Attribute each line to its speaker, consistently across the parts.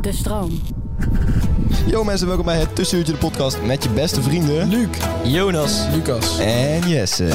Speaker 1: De stroom.
Speaker 2: Yo mensen, welkom bij het Tussenuurtje de podcast met je beste vrienden... Luc, Jonas
Speaker 3: Lucas.
Speaker 2: en Jesse.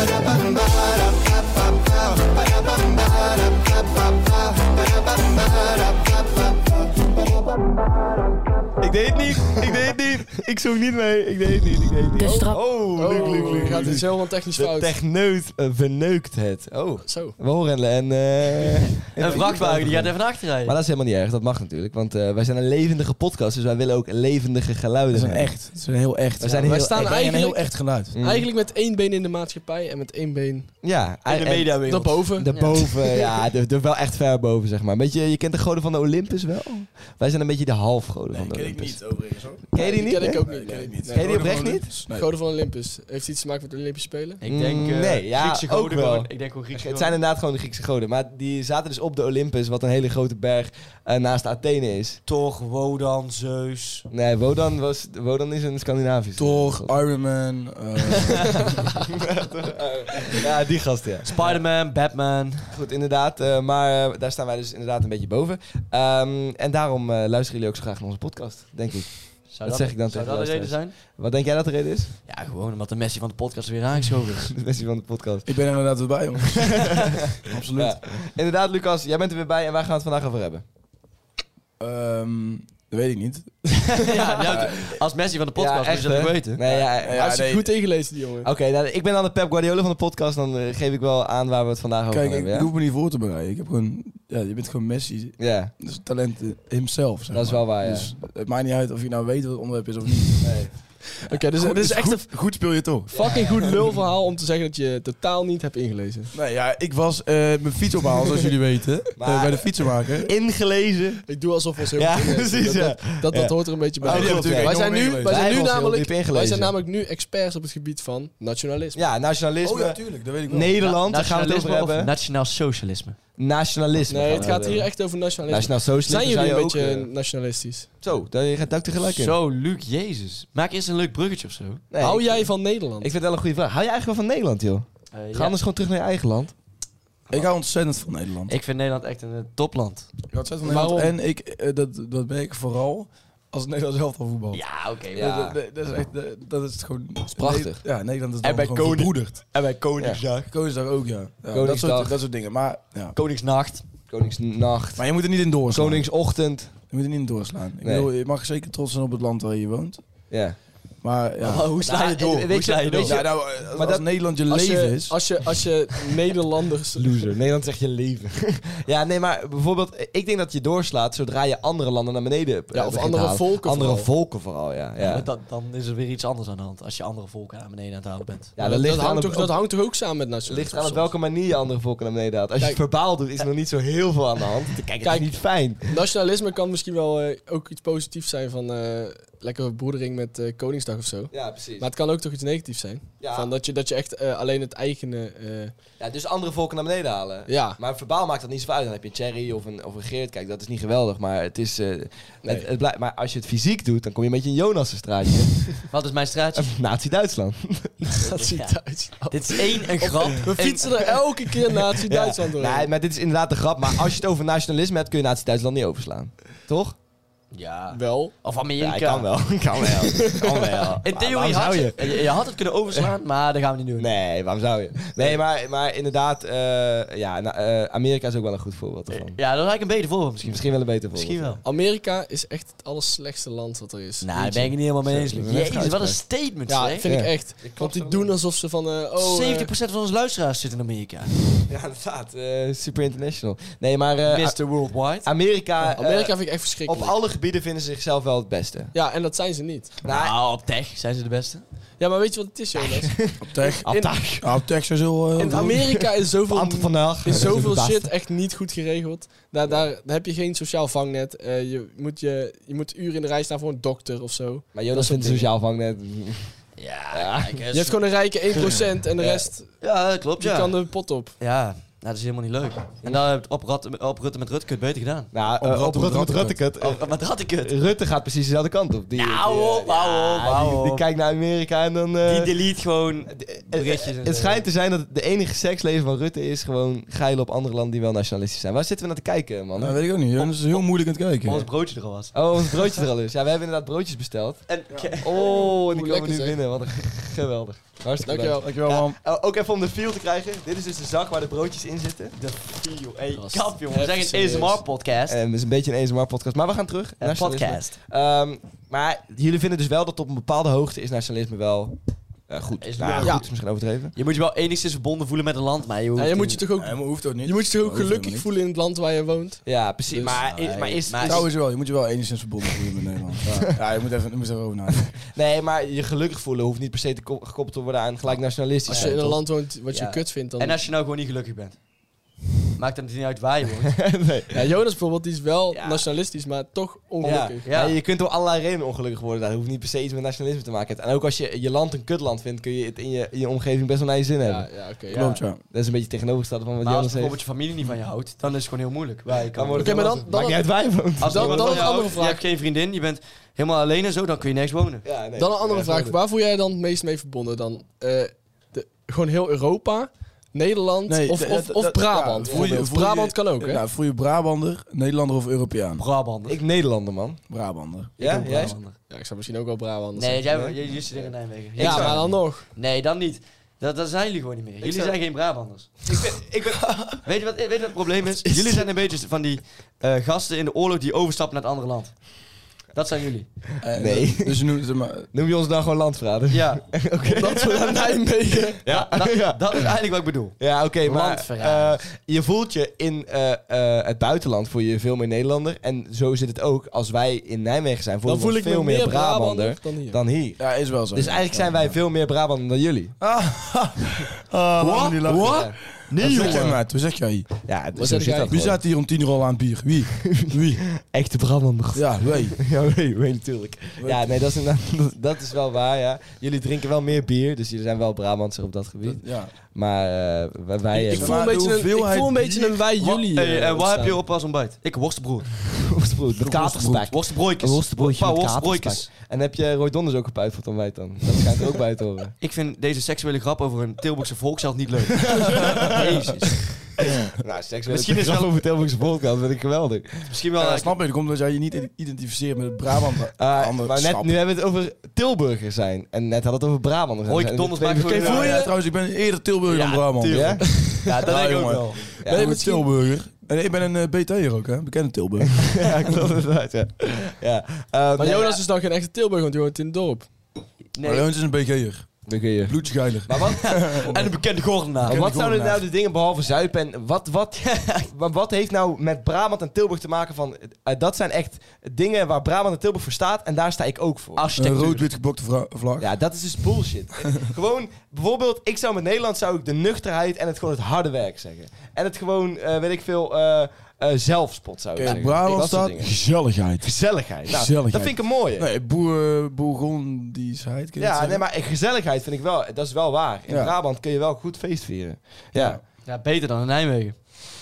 Speaker 2: Ik deed het niet, ik deed het niet. Ik zoek niet mee, ik deed het niet, ik deed het niet.
Speaker 1: De stroom.
Speaker 2: Oh, Luc, Luc, Luc.
Speaker 3: Gaat
Speaker 2: Luc.
Speaker 3: het helemaal technisch
Speaker 2: De
Speaker 3: fout.
Speaker 2: techneut eh, verneukt het. Oh,
Speaker 3: Zo.
Speaker 2: we horen en... eh
Speaker 4: Een vrachtwagen die gaat even achterrijden.
Speaker 2: Maar dat is helemaal niet erg, dat mag natuurlijk. Want eh, wij zijn een levendige podcast, dus wij willen ook levendige geluiden
Speaker 5: We zijn
Speaker 2: hebben.
Speaker 5: echt. Het is een heel echt.
Speaker 2: We zijn heel
Speaker 5: wij staan
Speaker 2: echt.
Speaker 5: bij een heel
Speaker 3: Eigenlijk-
Speaker 5: echt geluid.
Speaker 2: Mm.
Speaker 3: Eigenlijk met één been in de maatschappij en met één been
Speaker 2: Ja,
Speaker 4: in de
Speaker 2: en-
Speaker 4: mediawereld.
Speaker 3: daarboven.
Speaker 2: Daarboven, ja, de, de- wel echt ver boven, zeg maar. Beetje, je kent de goden van de Olympus wel? Wij zijn een beetje de halfgoden van de Olympus.
Speaker 5: overigens.
Speaker 2: Ken je die niet?
Speaker 3: ken ik
Speaker 2: hè?
Speaker 3: ook niet. ken ik niet.
Speaker 2: Ken je die oprecht niet?
Speaker 3: Goden van Olympus. Heeft iets te maken met de Olympische Spelen?
Speaker 4: Ik denk
Speaker 2: Mm,
Speaker 4: eh,
Speaker 2: nee, ja,
Speaker 4: Griekse
Speaker 2: ook
Speaker 4: goden
Speaker 2: wel.
Speaker 4: gewoon. Ik denk gewoon Griekse
Speaker 2: Het zijn inderdaad gewoon de Griekse goden. Maar die zaten dus op de Olympus, wat een hele grote berg eh, naast Athene is.
Speaker 4: toch Wodan, Zeus.
Speaker 2: Nee, Wodan, was, Wodan is een Scandinavisch.
Speaker 5: Toch, Iron Man. eh,
Speaker 2: Ja, die gast, ja.
Speaker 4: Spider-Man, Batman.
Speaker 2: Goed, inderdaad. eh, maar eh, daar staan wij dus inderdaad een beetje boven. Ehm, en daarom eh, luisteren jullie ook zo graag naar onze podcast, denk ik.
Speaker 4: Zou
Speaker 2: Dat zeg ik dan
Speaker 4: zou
Speaker 2: tegen
Speaker 4: dat de
Speaker 2: de
Speaker 4: reden zijn?
Speaker 2: Wat denk jij dat de reden is?
Speaker 4: Ja, gewoon omdat de Messi van de podcast er weer aangeschoven is.
Speaker 2: De mensen van de podcast.
Speaker 5: ik ben er inderdaad weer bij, jongens. Absoluut.
Speaker 2: Ja. Inderdaad, Lucas, jij bent er weer bij en wij gaan het vandaag over hebben.
Speaker 5: Ehm, dat weet ik niet.
Speaker 4: ja, nou, als Messi van de podcast moet je dat
Speaker 2: hè?
Speaker 4: ook weten.
Speaker 2: Nee, ja,
Speaker 5: Ja,
Speaker 2: ja,
Speaker 3: Hij is
Speaker 5: nee.
Speaker 3: goed ingelezen, die jongen.
Speaker 2: Oké, nou, ik ben dan de Pep Guardiola van de podcast. Dan eh, geef ik wel aan waar we het vandaag over
Speaker 5: Kijk,
Speaker 2: gaan
Speaker 5: ik,
Speaker 2: hebben.
Speaker 5: ik
Speaker 2: Ja?
Speaker 5: hoef me niet voor te bereiden. Ik heb gewoon, ja, je bent gewoon Messi.
Speaker 2: ja,
Speaker 5: Dus talent eh, himself. Zeg
Speaker 2: dat is
Speaker 5: maar.
Speaker 2: wel waar, ja.
Speaker 5: Dus het maakt niet uit of je nou weet wat het onderwerp is of niet.
Speaker 3: Oké, dus dit is echt een
Speaker 5: goed speel je toch?
Speaker 3: fucking goed lulverhaal om te zeggen dat je totaal niet hebt ingelezen.
Speaker 5: Nou ja, ik was eh, mijn fiets ophalen, zoals jullie weten. eh,
Speaker 2: Maar-
Speaker 5: bij de fietsenmaker.
Speaker 2: Ingelezen.
Speaker 3: Ik doe alsof we ons heel
Speaker 2: Ja,
Speaker 3: goed ingelezen.
Speaker 2: precies, ja.
Speaker 3: Dat, dat, dat,
Speaker 2: Ja.
Speaker 3: hoort er een beetje
Speaker 2: Maar
Speaker 3: bij.
Speaker 2: die hebben natuurlijk
Speaker 3: wij, zijn
Speaker 5: enorm
Speaker 3: nu, wij,
Speaker 2: Wij
Speaker 5: ingelezen.
Speaker 2: hebben
Speaker 3: zijn nu
Speaker 2: ons heel
Speaker 3: namelijk,
Speaker 2: diep
Speaker 3: wij
Speaker 2: ingelezen.
Speaker 3: zijn namelijk nu experts op het gebied van nationalisme.
Speaker 2: Ja, nationalisme.
Speaker 5: Oh ja, tuurlijk. Dat weet ik wel.
Speaker 2: Nederland, daar gaan we het
Speaker 4: Nationalisme
Speaker 2: over hebben.
Speaker 4: of nationaal socialisme?
Speaker 2: nationalisme.
Speaker 3: nee,
Speaker 2: gaan
Speaker 3: het
Speaker 2: we
Speaker 3: gaat hier
Speaker 2: hebben.
Speaker 3: echt over nationalisme.
Speaker 2: Nationaal socialisme.
Speaker 3: zijn jullie
Speaker 2: zou
Speaker 3: een
Speaker 2: je
Speaker 3: beetje
Speaker 2: ook, eh,
Speaker 3: nationalistisch?
Speaker 2: Zo, daar gaat duik tegelijk in.
Speaker 4: Zo, Luc, jezus. Maak eerst een leuk bruggetje of zo.
Speaker 2: Nee,
Speaker 3: Hou
Speaker 2: ik-
Speaker 3: jij van Nederland?
Speaker 2: Ik vind het wel een goede vraag. Hou je eigenlijk wel van Nederland, joh?
Speaker 4: Eh,
Speaker 2: Ga
Speaker 4: ja.
Speaker 2: anders gewoon terug naar je eigen land.
Speaker 5: Ik hou ontzettend van Nederland.
Speaker 4: Ik vind Nederland echt een eh, topland.
Speaker 5: Ik hou ontzettend van
Speaker 3: Waarom?
Speaker 5: Nederland. En ik, eh, dat, dat ben ik vooral als het Nederlands elftal voetbal.
Speaker 4: Ja, oké.
Speaker 2: Ja.
Speaker 5: Dat, dat- dat is echt, dat, dat is gewoon... Dat
Speaker 2: prachtig.
Speaker 5: ja, Nederland is
Speaker 2: En
Speaker 5: dan
Speaker 2: bij
Speaker 5: gewoon
Speaker 2: Koning-
Speaker 5: verbroederd.
Speaker 2: En bij Koningsdag.
Speaker 5: Koningsdag ook, ja. ja dat,
Speaker 2: Koningsdag.
Speaker 5: soort, dat soort dingen. Maar, ja.
Speaker 4: Koningsnacht.
Speaker 2: Koningsnacht.
Speaker 5: maar je moet er niet in doorslaan.
Speaker 2: Koningsochtend.
Speaker 5: Je moet er niet in doorslaan. Ik
Speaker 2: Nee.
Speaker 5: bedoel, je mag zeker trots zijn op het land waar je woont.
Speaker 2: Ja.
Speaker 5: Maar ja, Nou,
Speaker 4: hoe
Speaker 2: sla je door? Hoe sla je door?
Speaker 5: ja nou, eh, als,
Speaker 2: Maar dat-
Speaker 5: Nederland je
Speaker 3: als,
Speaker 5: leven
Speaker 3: je,
Speaker 2: dus.
Speaker 5: is...
Speaker 3: als, je, als je Nederlanders...
Speaker 2: Loser. Nederland zegt je leven. ja, nee, maar bijvoorbeeld, ik denk dat je doorslaat zodra je andere landen naar beneden. eh,
Speaker 3: Ja, of
Speaker 2: begint
Speaker 3: andere
Speaker 2: te halen.
Speaker 3: volken
Speaker 2: Andere
Speaker 3: vooral.
Speaker 2: volken vooral, ja. Ja, ja,
Speaker 4: Dan, dan is er weer iets anders aan de hand als je andere volken naar beneden aan het halen bent.
Speaker 2: dat,
Speaker 3: dat,
Speaker 2: ligt aan,
Speaker 3: hangt
Speaker 2: het-
Speaker 3: toch, dat hangt toch ook samen met nationalisme?
Speaker 2: ligt aan op welke manier je andere volken naar beneden haalt. Als je
Speaker 3: Kijk.
Speaker 2: het verbaal doet, is er nog niet zo heel veel aan de hand. Kijk, het
Speaker 3: Kijk.
Speaker 2: is niet fijn.
Speaker 3: Nationalisme kan misschien wel eh, ook iets positiefs zijn van eh lekker broedering met eh, Koningsdag of zo.
Speaker 2: Ja, precies.
Speaker 3: Maar het kan ook toch iets negatiefs zijn.
Speaker 2: Ja.
Speaker 3: Van dat, je, dat je echt eh, alleen het eigene... eh,
Speaker 2: ja, dus andere volken naar beneden halen.
Speaker 3: ja,
Speaker 2: Maar verbaal maakt dat niet zoveel uit. Dan heb je een Thierry of een, of een Geert. Kijk, dat is niet geweldig, maar het is... eh, het, het blijft, maar als je het fysiek doet, dan kom je een beetje in Jonas' straatje.
Speaker 4: Wat is mijn straatje?
Speaker 2: Nazi-Duitsland.
Speaker 3: dat ziet
Speaker 4: Ja.
Speaker 3: Duits.
Speaker 4: Dit is één een grap.
Speaker 3: We fietsen er elke keer
Speaker 2: Ja.
Speaker 3: Nazi-Duitsland doorheen.
Speaker 2: Nee, maar dit is inderdaad de grap. Maar als je het over nationalisme hebt, kun je Nazi-Duitsland niet overslaan. Toch?
Speaker 4: Ja.
Speaker 3: Wel.
Speaker 4: Of Amerika.
Speaker 2: Ja, kan wel. Kan wel. kan wel.
Speaker 4: In
Speaker 2: Maar
Speaker 4: theorie
Speaker 2: waarom
Speaker 4: had
Speaker 2: zou
Speaker 4: je, je, je had het kunnen overslaan, maar dat gaan we niet doen.
Speaker 2: Nee, waarom zou je? Nee, maar, maar inderdaad, eh, ja, nou, eh, Amerika is ook wel een goed voorbeeld ervan.
Speaker 4: Ja, dat is eigenlijk een beter voorbeeld misschien.
Speaker 2: Misschien wel een beter voorbeeld.
Speaker 4: Eh, Misschien wel.
Speaker 3: Amerika is echt het allerslechtste land wat er is.
Speaker 4: Nou, daar ben ik het niet helemaal mee eens.
Speaker 2: Zo, ik ben
Speaker 4: Jezus,
Speaker 2: net
Speaker 4: wat een statement
Speaker 3: Ja,
Speaker 4: zeg.
Speaker 3: vind ik
Speaker 2: Ja.
Speaker 3: echt. Want die doen alsof ze van... eh, oh, eh,
Speaker 4: 70% van onze luisteraars zit in Amerika.
Speaker 2: Ja, inderdaad. eh, super international. Nee, maar eh,
Speaker 4: Mr. Worldwide.
Speaker 2: Amerika, eh,
Speaker 3: Amerika vind ik echt
Speaker 2: op
Speaker 3: verschrikkelijk.
Speaker 2: alle gebieden vinden ze zichzelf wel het beste.
Speaker 3: Ja, en dat zijn ze niet.
Speaker 2: Ah,
Speaker 4: Nou, op tech zijn ze de beste.
Speaker 3: Ja, maar weet je wat het is, Jonas?
Speaker 5: Op tech.
Speaker 4: Op tech.
Speaker 5: Ja, op tech is heel... eh,
Speaker 3: In Amerika is zoveel,
Speaker 2: vandaag.
Speaker 3: is zoveel shit echt niet goed geregeld. Daar, daar, daar heb je geen sociaal vangnet. Eh, je, moet je, je moet uren in de rij staan voor een dokter of zo.
Speaker 2: Maar Jonas vindt het sociaal vangnet.
Speaker 4: Ja, kijk
Speaker 3: Je
Speaker 4: eens.
Speaker 3: hebt gewoon een rijke 1% en de
Speaker 2: Ja.
Speaker 3: rest
Speaker 4: Ja, dat klopt,
Speaker 3: die
Speaker 4: ja.
Speaker 3: kan de pot op.
Speaker 4: Ja, nou, dat is helemaal niet leuk. En dan heb je het op, Rad- op Rutte met Rutte kut beter gedaan.
Speaker 2: Nou,
Speaker 5: Op
Speaker 2: eh, op
Speaker 5: Rutte
Speaker 2: Rutte met
Speaker 5: met
Speaker 2: Rutte kut.
Speaker 4: Oh, maar dat had ik het.
Speaker 2: Rutte gaat precies dezelfde kant op. Die,
Speaker 4: Nou,
Speaker 2: die, eh,
Speaker 4: op, hou op,
Speaker 2: ja,
Speaker 4: hou
Speaker 2: die, die
Speaker 4: op.
Speaker 2: kijkt naar Amerika en dan... eh,
Speaker 4: Die delete gewoon berichtjes. en
Speaker 2: het
Speaker 4: zo.
Speaker 2: schijnt te zijn dat de enige seksleven van Rutte is gewoon geilen op andere landen die wel nationalistisch zijn. Waar zitten we naar te kijken, man?
Speaker 5: Nou, weet ik ook niet. Het is heel moeilijk aan het kijken.
Speaker 4: Ons broodje er al was.
Speaker 2: Oh, ons broodje er al is. Ja, we hebben inderdaad broodjes besteld.
Speaker 4: En,
Speaker 2: Oh, en
Speaker 4: ja.
Speaker 2: die
Speaker 3: Hoe
Speaker 2: komen
Speaker 3: lekker
Speaker 2: nu
Speaker 3: zeg.
Speaker 2: binnen. Wat een g- geweldig. Hartstikke
Speaker 3: Dankjewel.
Speaker 5: Dankjewel,
Speaker 2: leuk.
Speaker 5: man.
Speaker 2: Ja, eh, ook even om de feel te krijgen. Dit is dus de zak waar de broodjes in zitten.
Speaker 4: De video, hey,
Speaker 3: Dat was
Speaker 4: kap jongen. We
Speaker 3: echt
Speaker 4: zijn
Speaker 3: serieus.
Speaker 4: een ASMR-podcast.
Speaker 2: Eh, Het is een beetje een ASMR-podcast, maar we gaan terug.
Speaker 4: Een
Speaker 2: Nationalisme.
Speaker 4: Eh, podcast.
Speaker 2: Ehm, maar jullie vinden dus wel dat op een bepaalde hoogte is nationalisme wel eh, goed.
Speaker 4: Is
Speaker 2: nou,
Speaker 4: wel
Speaker 2: goed
Speaker 3: goed.
Speaker 2: is misschien overdreven.
Speaker 4: Je moet je wel enigszins verbonden voelen met een land, maar je hoeft
Speaker 3: Ja, je moet
Speaker 4: niet-
Speaker 3: je toch ook,
Speaker 5: Nee, maar hoeft ook niet.
Speaker 3: je moet je toch ook
Speaker 5: Hoeft helemaal
Speaker 3: gelukkig
Speaker 5: niet.
Speaker 3: voelen in het land waar je woont.
Speaker 2: Ja, precies.
Speaker 3: Dus-
Speaker 2: maar,
Speaker 4: Nou,
Speaker 2: is, maar is,
Speaker 4: maar-
Speaker 2: is-
Speaker 5: Trouwens wel, je moet je wel enigszins verbonden voelen met Nederland. Ja, ja je moet even, je moet even over nadenken.
Speaker 2: Nee, maar je gelukkig voelen hoeft niet per se te ko- gekoppeld te worden aan gelijk nationalistisch.
Speaker 3: Ah, Als je
Speaker 2: zijn,
Speaker 3: in een
Speaker 2: toch?
Speaker 3: land woont wat je
Speaker 4: Ja.
Speaker 3: kut vindt, dan...
Speaker 4: En als je nou gewoon niet gelukkig bent. Maakt het niet uit waar je woont.
Speaker 2: nee.
Speaker 3: Ja, Jonas bijvoorbeeld, die is wel
Speaker 2: Ja.
Speaker 3: nationalistisch, maar toch
Speaker 2: Ja,
Speaker 3: ongelukkig.
Speaker 4: Ja.
Speaker 2: maar je kunt door allerlei redenen ongelukkig worden. Dat hoeft niet per se iets met nationalisme te maken. En ook als je je land een kutland vindt, kun je het in je, in je omgeving best wel naar je zin
Speaker 3: Ja,
Speaker 2: hebben.
Speaker 3: ja, oké. ja.
Speaker 5: Klopt, ja.
Speaker 2: Dat is een beetje tegenovergesteld van wat
Speaker 4: Maar als
Speaker 2: Jonas
Speaker 4: bijvoorbeeld
Speaker 2: heeft.
Speaker 4: je familie niet van je houdt, dan is het gewoon heel moeilijk. Waar je kan
Speaker 2: wordt
Speaker 3: Oké,
Speaker 2: het
Speaker 3: maar
Speaker 2: heel
Speaker 3: dan- Ah,
Speaker 2: lastig. Maakt niet uit waar je woont.
Speaker 4: Als
Speaker 3: Dan- dan
Speaker 4: niemand van
Speaker 3: een
Speaker 4: je
Speaker 3: andere
Speaker 4: houdt,
Speaker 3: vraag.
Speaker 4: Je hebt geen vriendin, je bent helemaal alleen en zo, dan kun je nergens wonen.
Speaker 2: Ja, nee.
Speaker 3: Dan een andere
Speaker 2: Ja,
Speaker 3: vraag.
Speaker 2: dat-
Speaker 3: Waar voel jij dan het meest mee verbonden dan? Eh, de, gewoon heel Europa, Nederland
Speaker 5: Nee,
Speaker 3: of,
Speaker 5: dat-
Speaker 3: of,
Speaker 5: dat-
Speaker 3: of
Speaker 5: dat-
Speaker 3: Brabant?
Speaker 5: ja, voel je-
Speaker 3: bijvoorbeeld?
Speaker 5: voel je-
Speaker 3: Brabant kan ook, hè?
Speaker 5: Nou, voel je Brabander, Nederlander of Europeaan?
Speaker 4: Brabander.
Speaker 2: Ik Nederlander, man.
Speaker 5: Brabander.
Speaker 2: Ja, jij?
Speaker 3: ja, ik zou misschien ook wel Brabant
Speaker 4: Nee,
Speaker 3: zijn.
Speaker 4: jij, jij, jij zit er in Nijmegen.
Speaker 3: Ja, maar dan nog.
Speaker 4: Nee, dan niet. Dat, dat zijn jullie gewoon niet meer. Jullie
Speaker 2: zou-
Speaker 4: zijn geen Brabanders. Ik ben, weet, je wat, weet je wat het probleem is? Jullie zijn een beetje van die eh, gasten in de oorlog die overstappen naar het andere land. Dat zijn jullie.
Speaker 5: Eh,
Speaker 2: Nee.
Speaker 5: Dus je noemt het maar...
Speaker 2: Noem je ons dan gewoon landverrader?
Speaker 4: Ja,
Speaker 3: Omdat we naar Nijmegen...
Speaker 2: Ja.
Speaker 4: Dat,
Speaker 2: Ja.
Speaker 4: dat is eigenlijk wat ik bedoel.
Speaker 2: Ja, oké, maar
Speaker 4: Landverrader.
Speaker 2: eh, je voelt je in eh, eh, het buitenland voel je je veel meer Nederlander. En zo zit het ook. Als wij in Nijmegen zijn, voelen
Speaker 3: Dan
Speaker 2: we
Speaker 3: voel
Speaker 2: ons
Speaker 3: ik me
Speaker 2: veel meer
Speaker 3: Brabander
Speaker 2: Brabander
Speaker 3: dan hier.
Speaker 2: dan hier.
Speaker 5: Ja, is wel zo.
Speaker 2: Dus eigenlijk zijn wij veel meer Brabander dan jullie.
Speaker 5: Ah, laat me
Speaker 4: Wat?
Speaker 5: niet lachen.
Speaker 4: Wat?
Speaker 5: Ja. Wat zeg jij, maat? Wat zeg jij?
Speaker 2: Ja, dus
Speaker 3: Wat
Speaker 2: zo
Speaker 3: zeg
Speaker 2: zit
Speaker 3: jij?
Speaker 2: dat
Speaker 5: Wie
Speaker 2: gewoon.
Speaker 5: staat hier om tien uur al aan het bier? Wie? Wie?
Speaker 2: Echte Brabander.
Speaker 5: Ja, wij.
Speaker 2: Ja, weet, weet natuurlijk. Ja, nee, dat is, inderdaad- dat- dat is wel waar, ja. Jullie drinken wel meer bier, dus jullie zijn wel Brabantser op dat gebied.
Speaker 5: Ja.
Speaker 2: Maar eh, wij- wij...
Speaker 3: Ik
Speaker 2: eh,
Speaker 3: voel een
Speaker 5: Maar de
Speaker 3: beetje een, ik
Speaker 5: hoeveelheid
Speaker 3: voel een, beetje een wij jullie
Speaker 4: Wa- hey,
Speaker 3: eh,
Speaker 4: en wat heb je
Speaker 3: ontstaan.
Speaker 4: op als ontbijt? Ik worstenbroer.
Speaker 2: worstenbrood met katerspek.
Speaker 4: Worstenbroodjes.
Speaker 2: Een worstenbroodje
Speaker 4: Een
Speaker 2: met
Speaker 4: paar worstenbroodjes.
Speaker 2: katerspek. En heb je Roy Donders ook op uitvoerd dan wij dan? Dat schijnt er ook bij te horen.
Speaker 4: Ik vind deze seksuele grap over een Tilburgse volksheld niet leuk. Jezus.
Speaker 2: nou, seks
Speaker 4: Misschien is wel-
Speaker 2: over Tilburgse volkant, vind ik geweldig.
Speaker 4: Misschien wel...
Speaker 5: Ja,
Speaker 4: eh,
Speaker 5: snap je. Dat komt omdat jij je niet i- identificeert met het Brabant.
Speaker 2: Eh,
Speaker 5: andere
Speaker 2: maar net,
Speaker 5: schap.
Speaker 2: nu hebben we het over Tilburgers zijn. En net hadden we het over Brabanders. zijn.
Speaker 4: Hoi,
Speaker 2: Dat zijn
Speaker 4: Donders
Speaker 2: twee
Speaker 4: maakt
Speaker 2: verschillende-
Speaker 4: gewoon-
Speaker 5: Voel je?
Speaker 4: Ja,
Speaker 5: trouwens, ik ben eerder Tilburger
Speaker 4: Ja,
Speaker 5: dan Brabant.
Speaker 4: tuurlijk.
Speaker 2: Ja?
Speaker 4: ja, dat
Speaker 5: Ja,
Speaker 4: denk ik ook
Speaker 5: jongen.
Speaker 4: wel.
Speaker 5: Ja,
Speaker 3: Nee,
Speaker 5: ik ben
Speaker 3: misschien-
Speaker 5: Tilburger. En ik ben een eh, BT'er ook, hè? Bekende Tilburger.
Speaker 2: ja, ik klopt inderdaad, ja. ja. Eh,
Speaker 3: Maar
Speaker 2: nee,
Speaker 3: Jonas is dan geen echte Tilburg, want die woont in het dorp.
Speaker 5: Maar Leuns is een BG'er.
Speaker 2: Dan kun je...
Speaker 5: Bloedjegeiler.
Speaker 2: Maar wat,
Speaker 4: En een bekende
Speaker 2: maar
Speaker 4: gordenaar.
Speaker 2: wat
Speaker 5: gewoon
Speaker 2: zouden nou
Speaker 5: naast.
Speaker 2: de dingen behalve zuipen en wat, wat, maar wat heeft nou met Brabant en Tilburg te maken van... eh, dat zijn echt dingen waar Brabant en Tilburg voor staat en daar sta ik ook voor.
Speaker 5: Een
Speaker 4: Architectuur.
Speaker 5: rood-wit geblokte vra- vlag.
Speaker 2: Ja, dat is dus bullshit. gewoon, bijvoorbeeld, ik zou met Nederland zou ik de nuchterheid en het gewoon het harde werk zeggen. En het gewoon, eh, weet ik veel, eh, eh, zelfspot zou ik
Speaker 5: Oké,
Speaker 2: zeggen.
Speaker 5: Brabant
Speaker 2: Dat soort
Speaker 5: staat
Speaker 2: dingen.
Speaker 5: gezelligheid.
Speaker 2: Gezelligheid. Nou,
Speaker 5: Gezelligheid.
Speaker 2: Dat vind ik een mooie.
Speaker 5: Nee, boer, eh, Bourgondisheid. kun je
Speaker 2: ja,
Speaker 5: dat
Speaker 2: nee,
Speaker 5: zeggen?
Speaker 2: maar gezelligheid vind ik wel, dat is wel waar. In
Speaker 5: Ja.
Speaker 2: Brabant kun je wel goed feest vieren. Ja.
Speaker 4: Ja, beter dan in Nijmegen.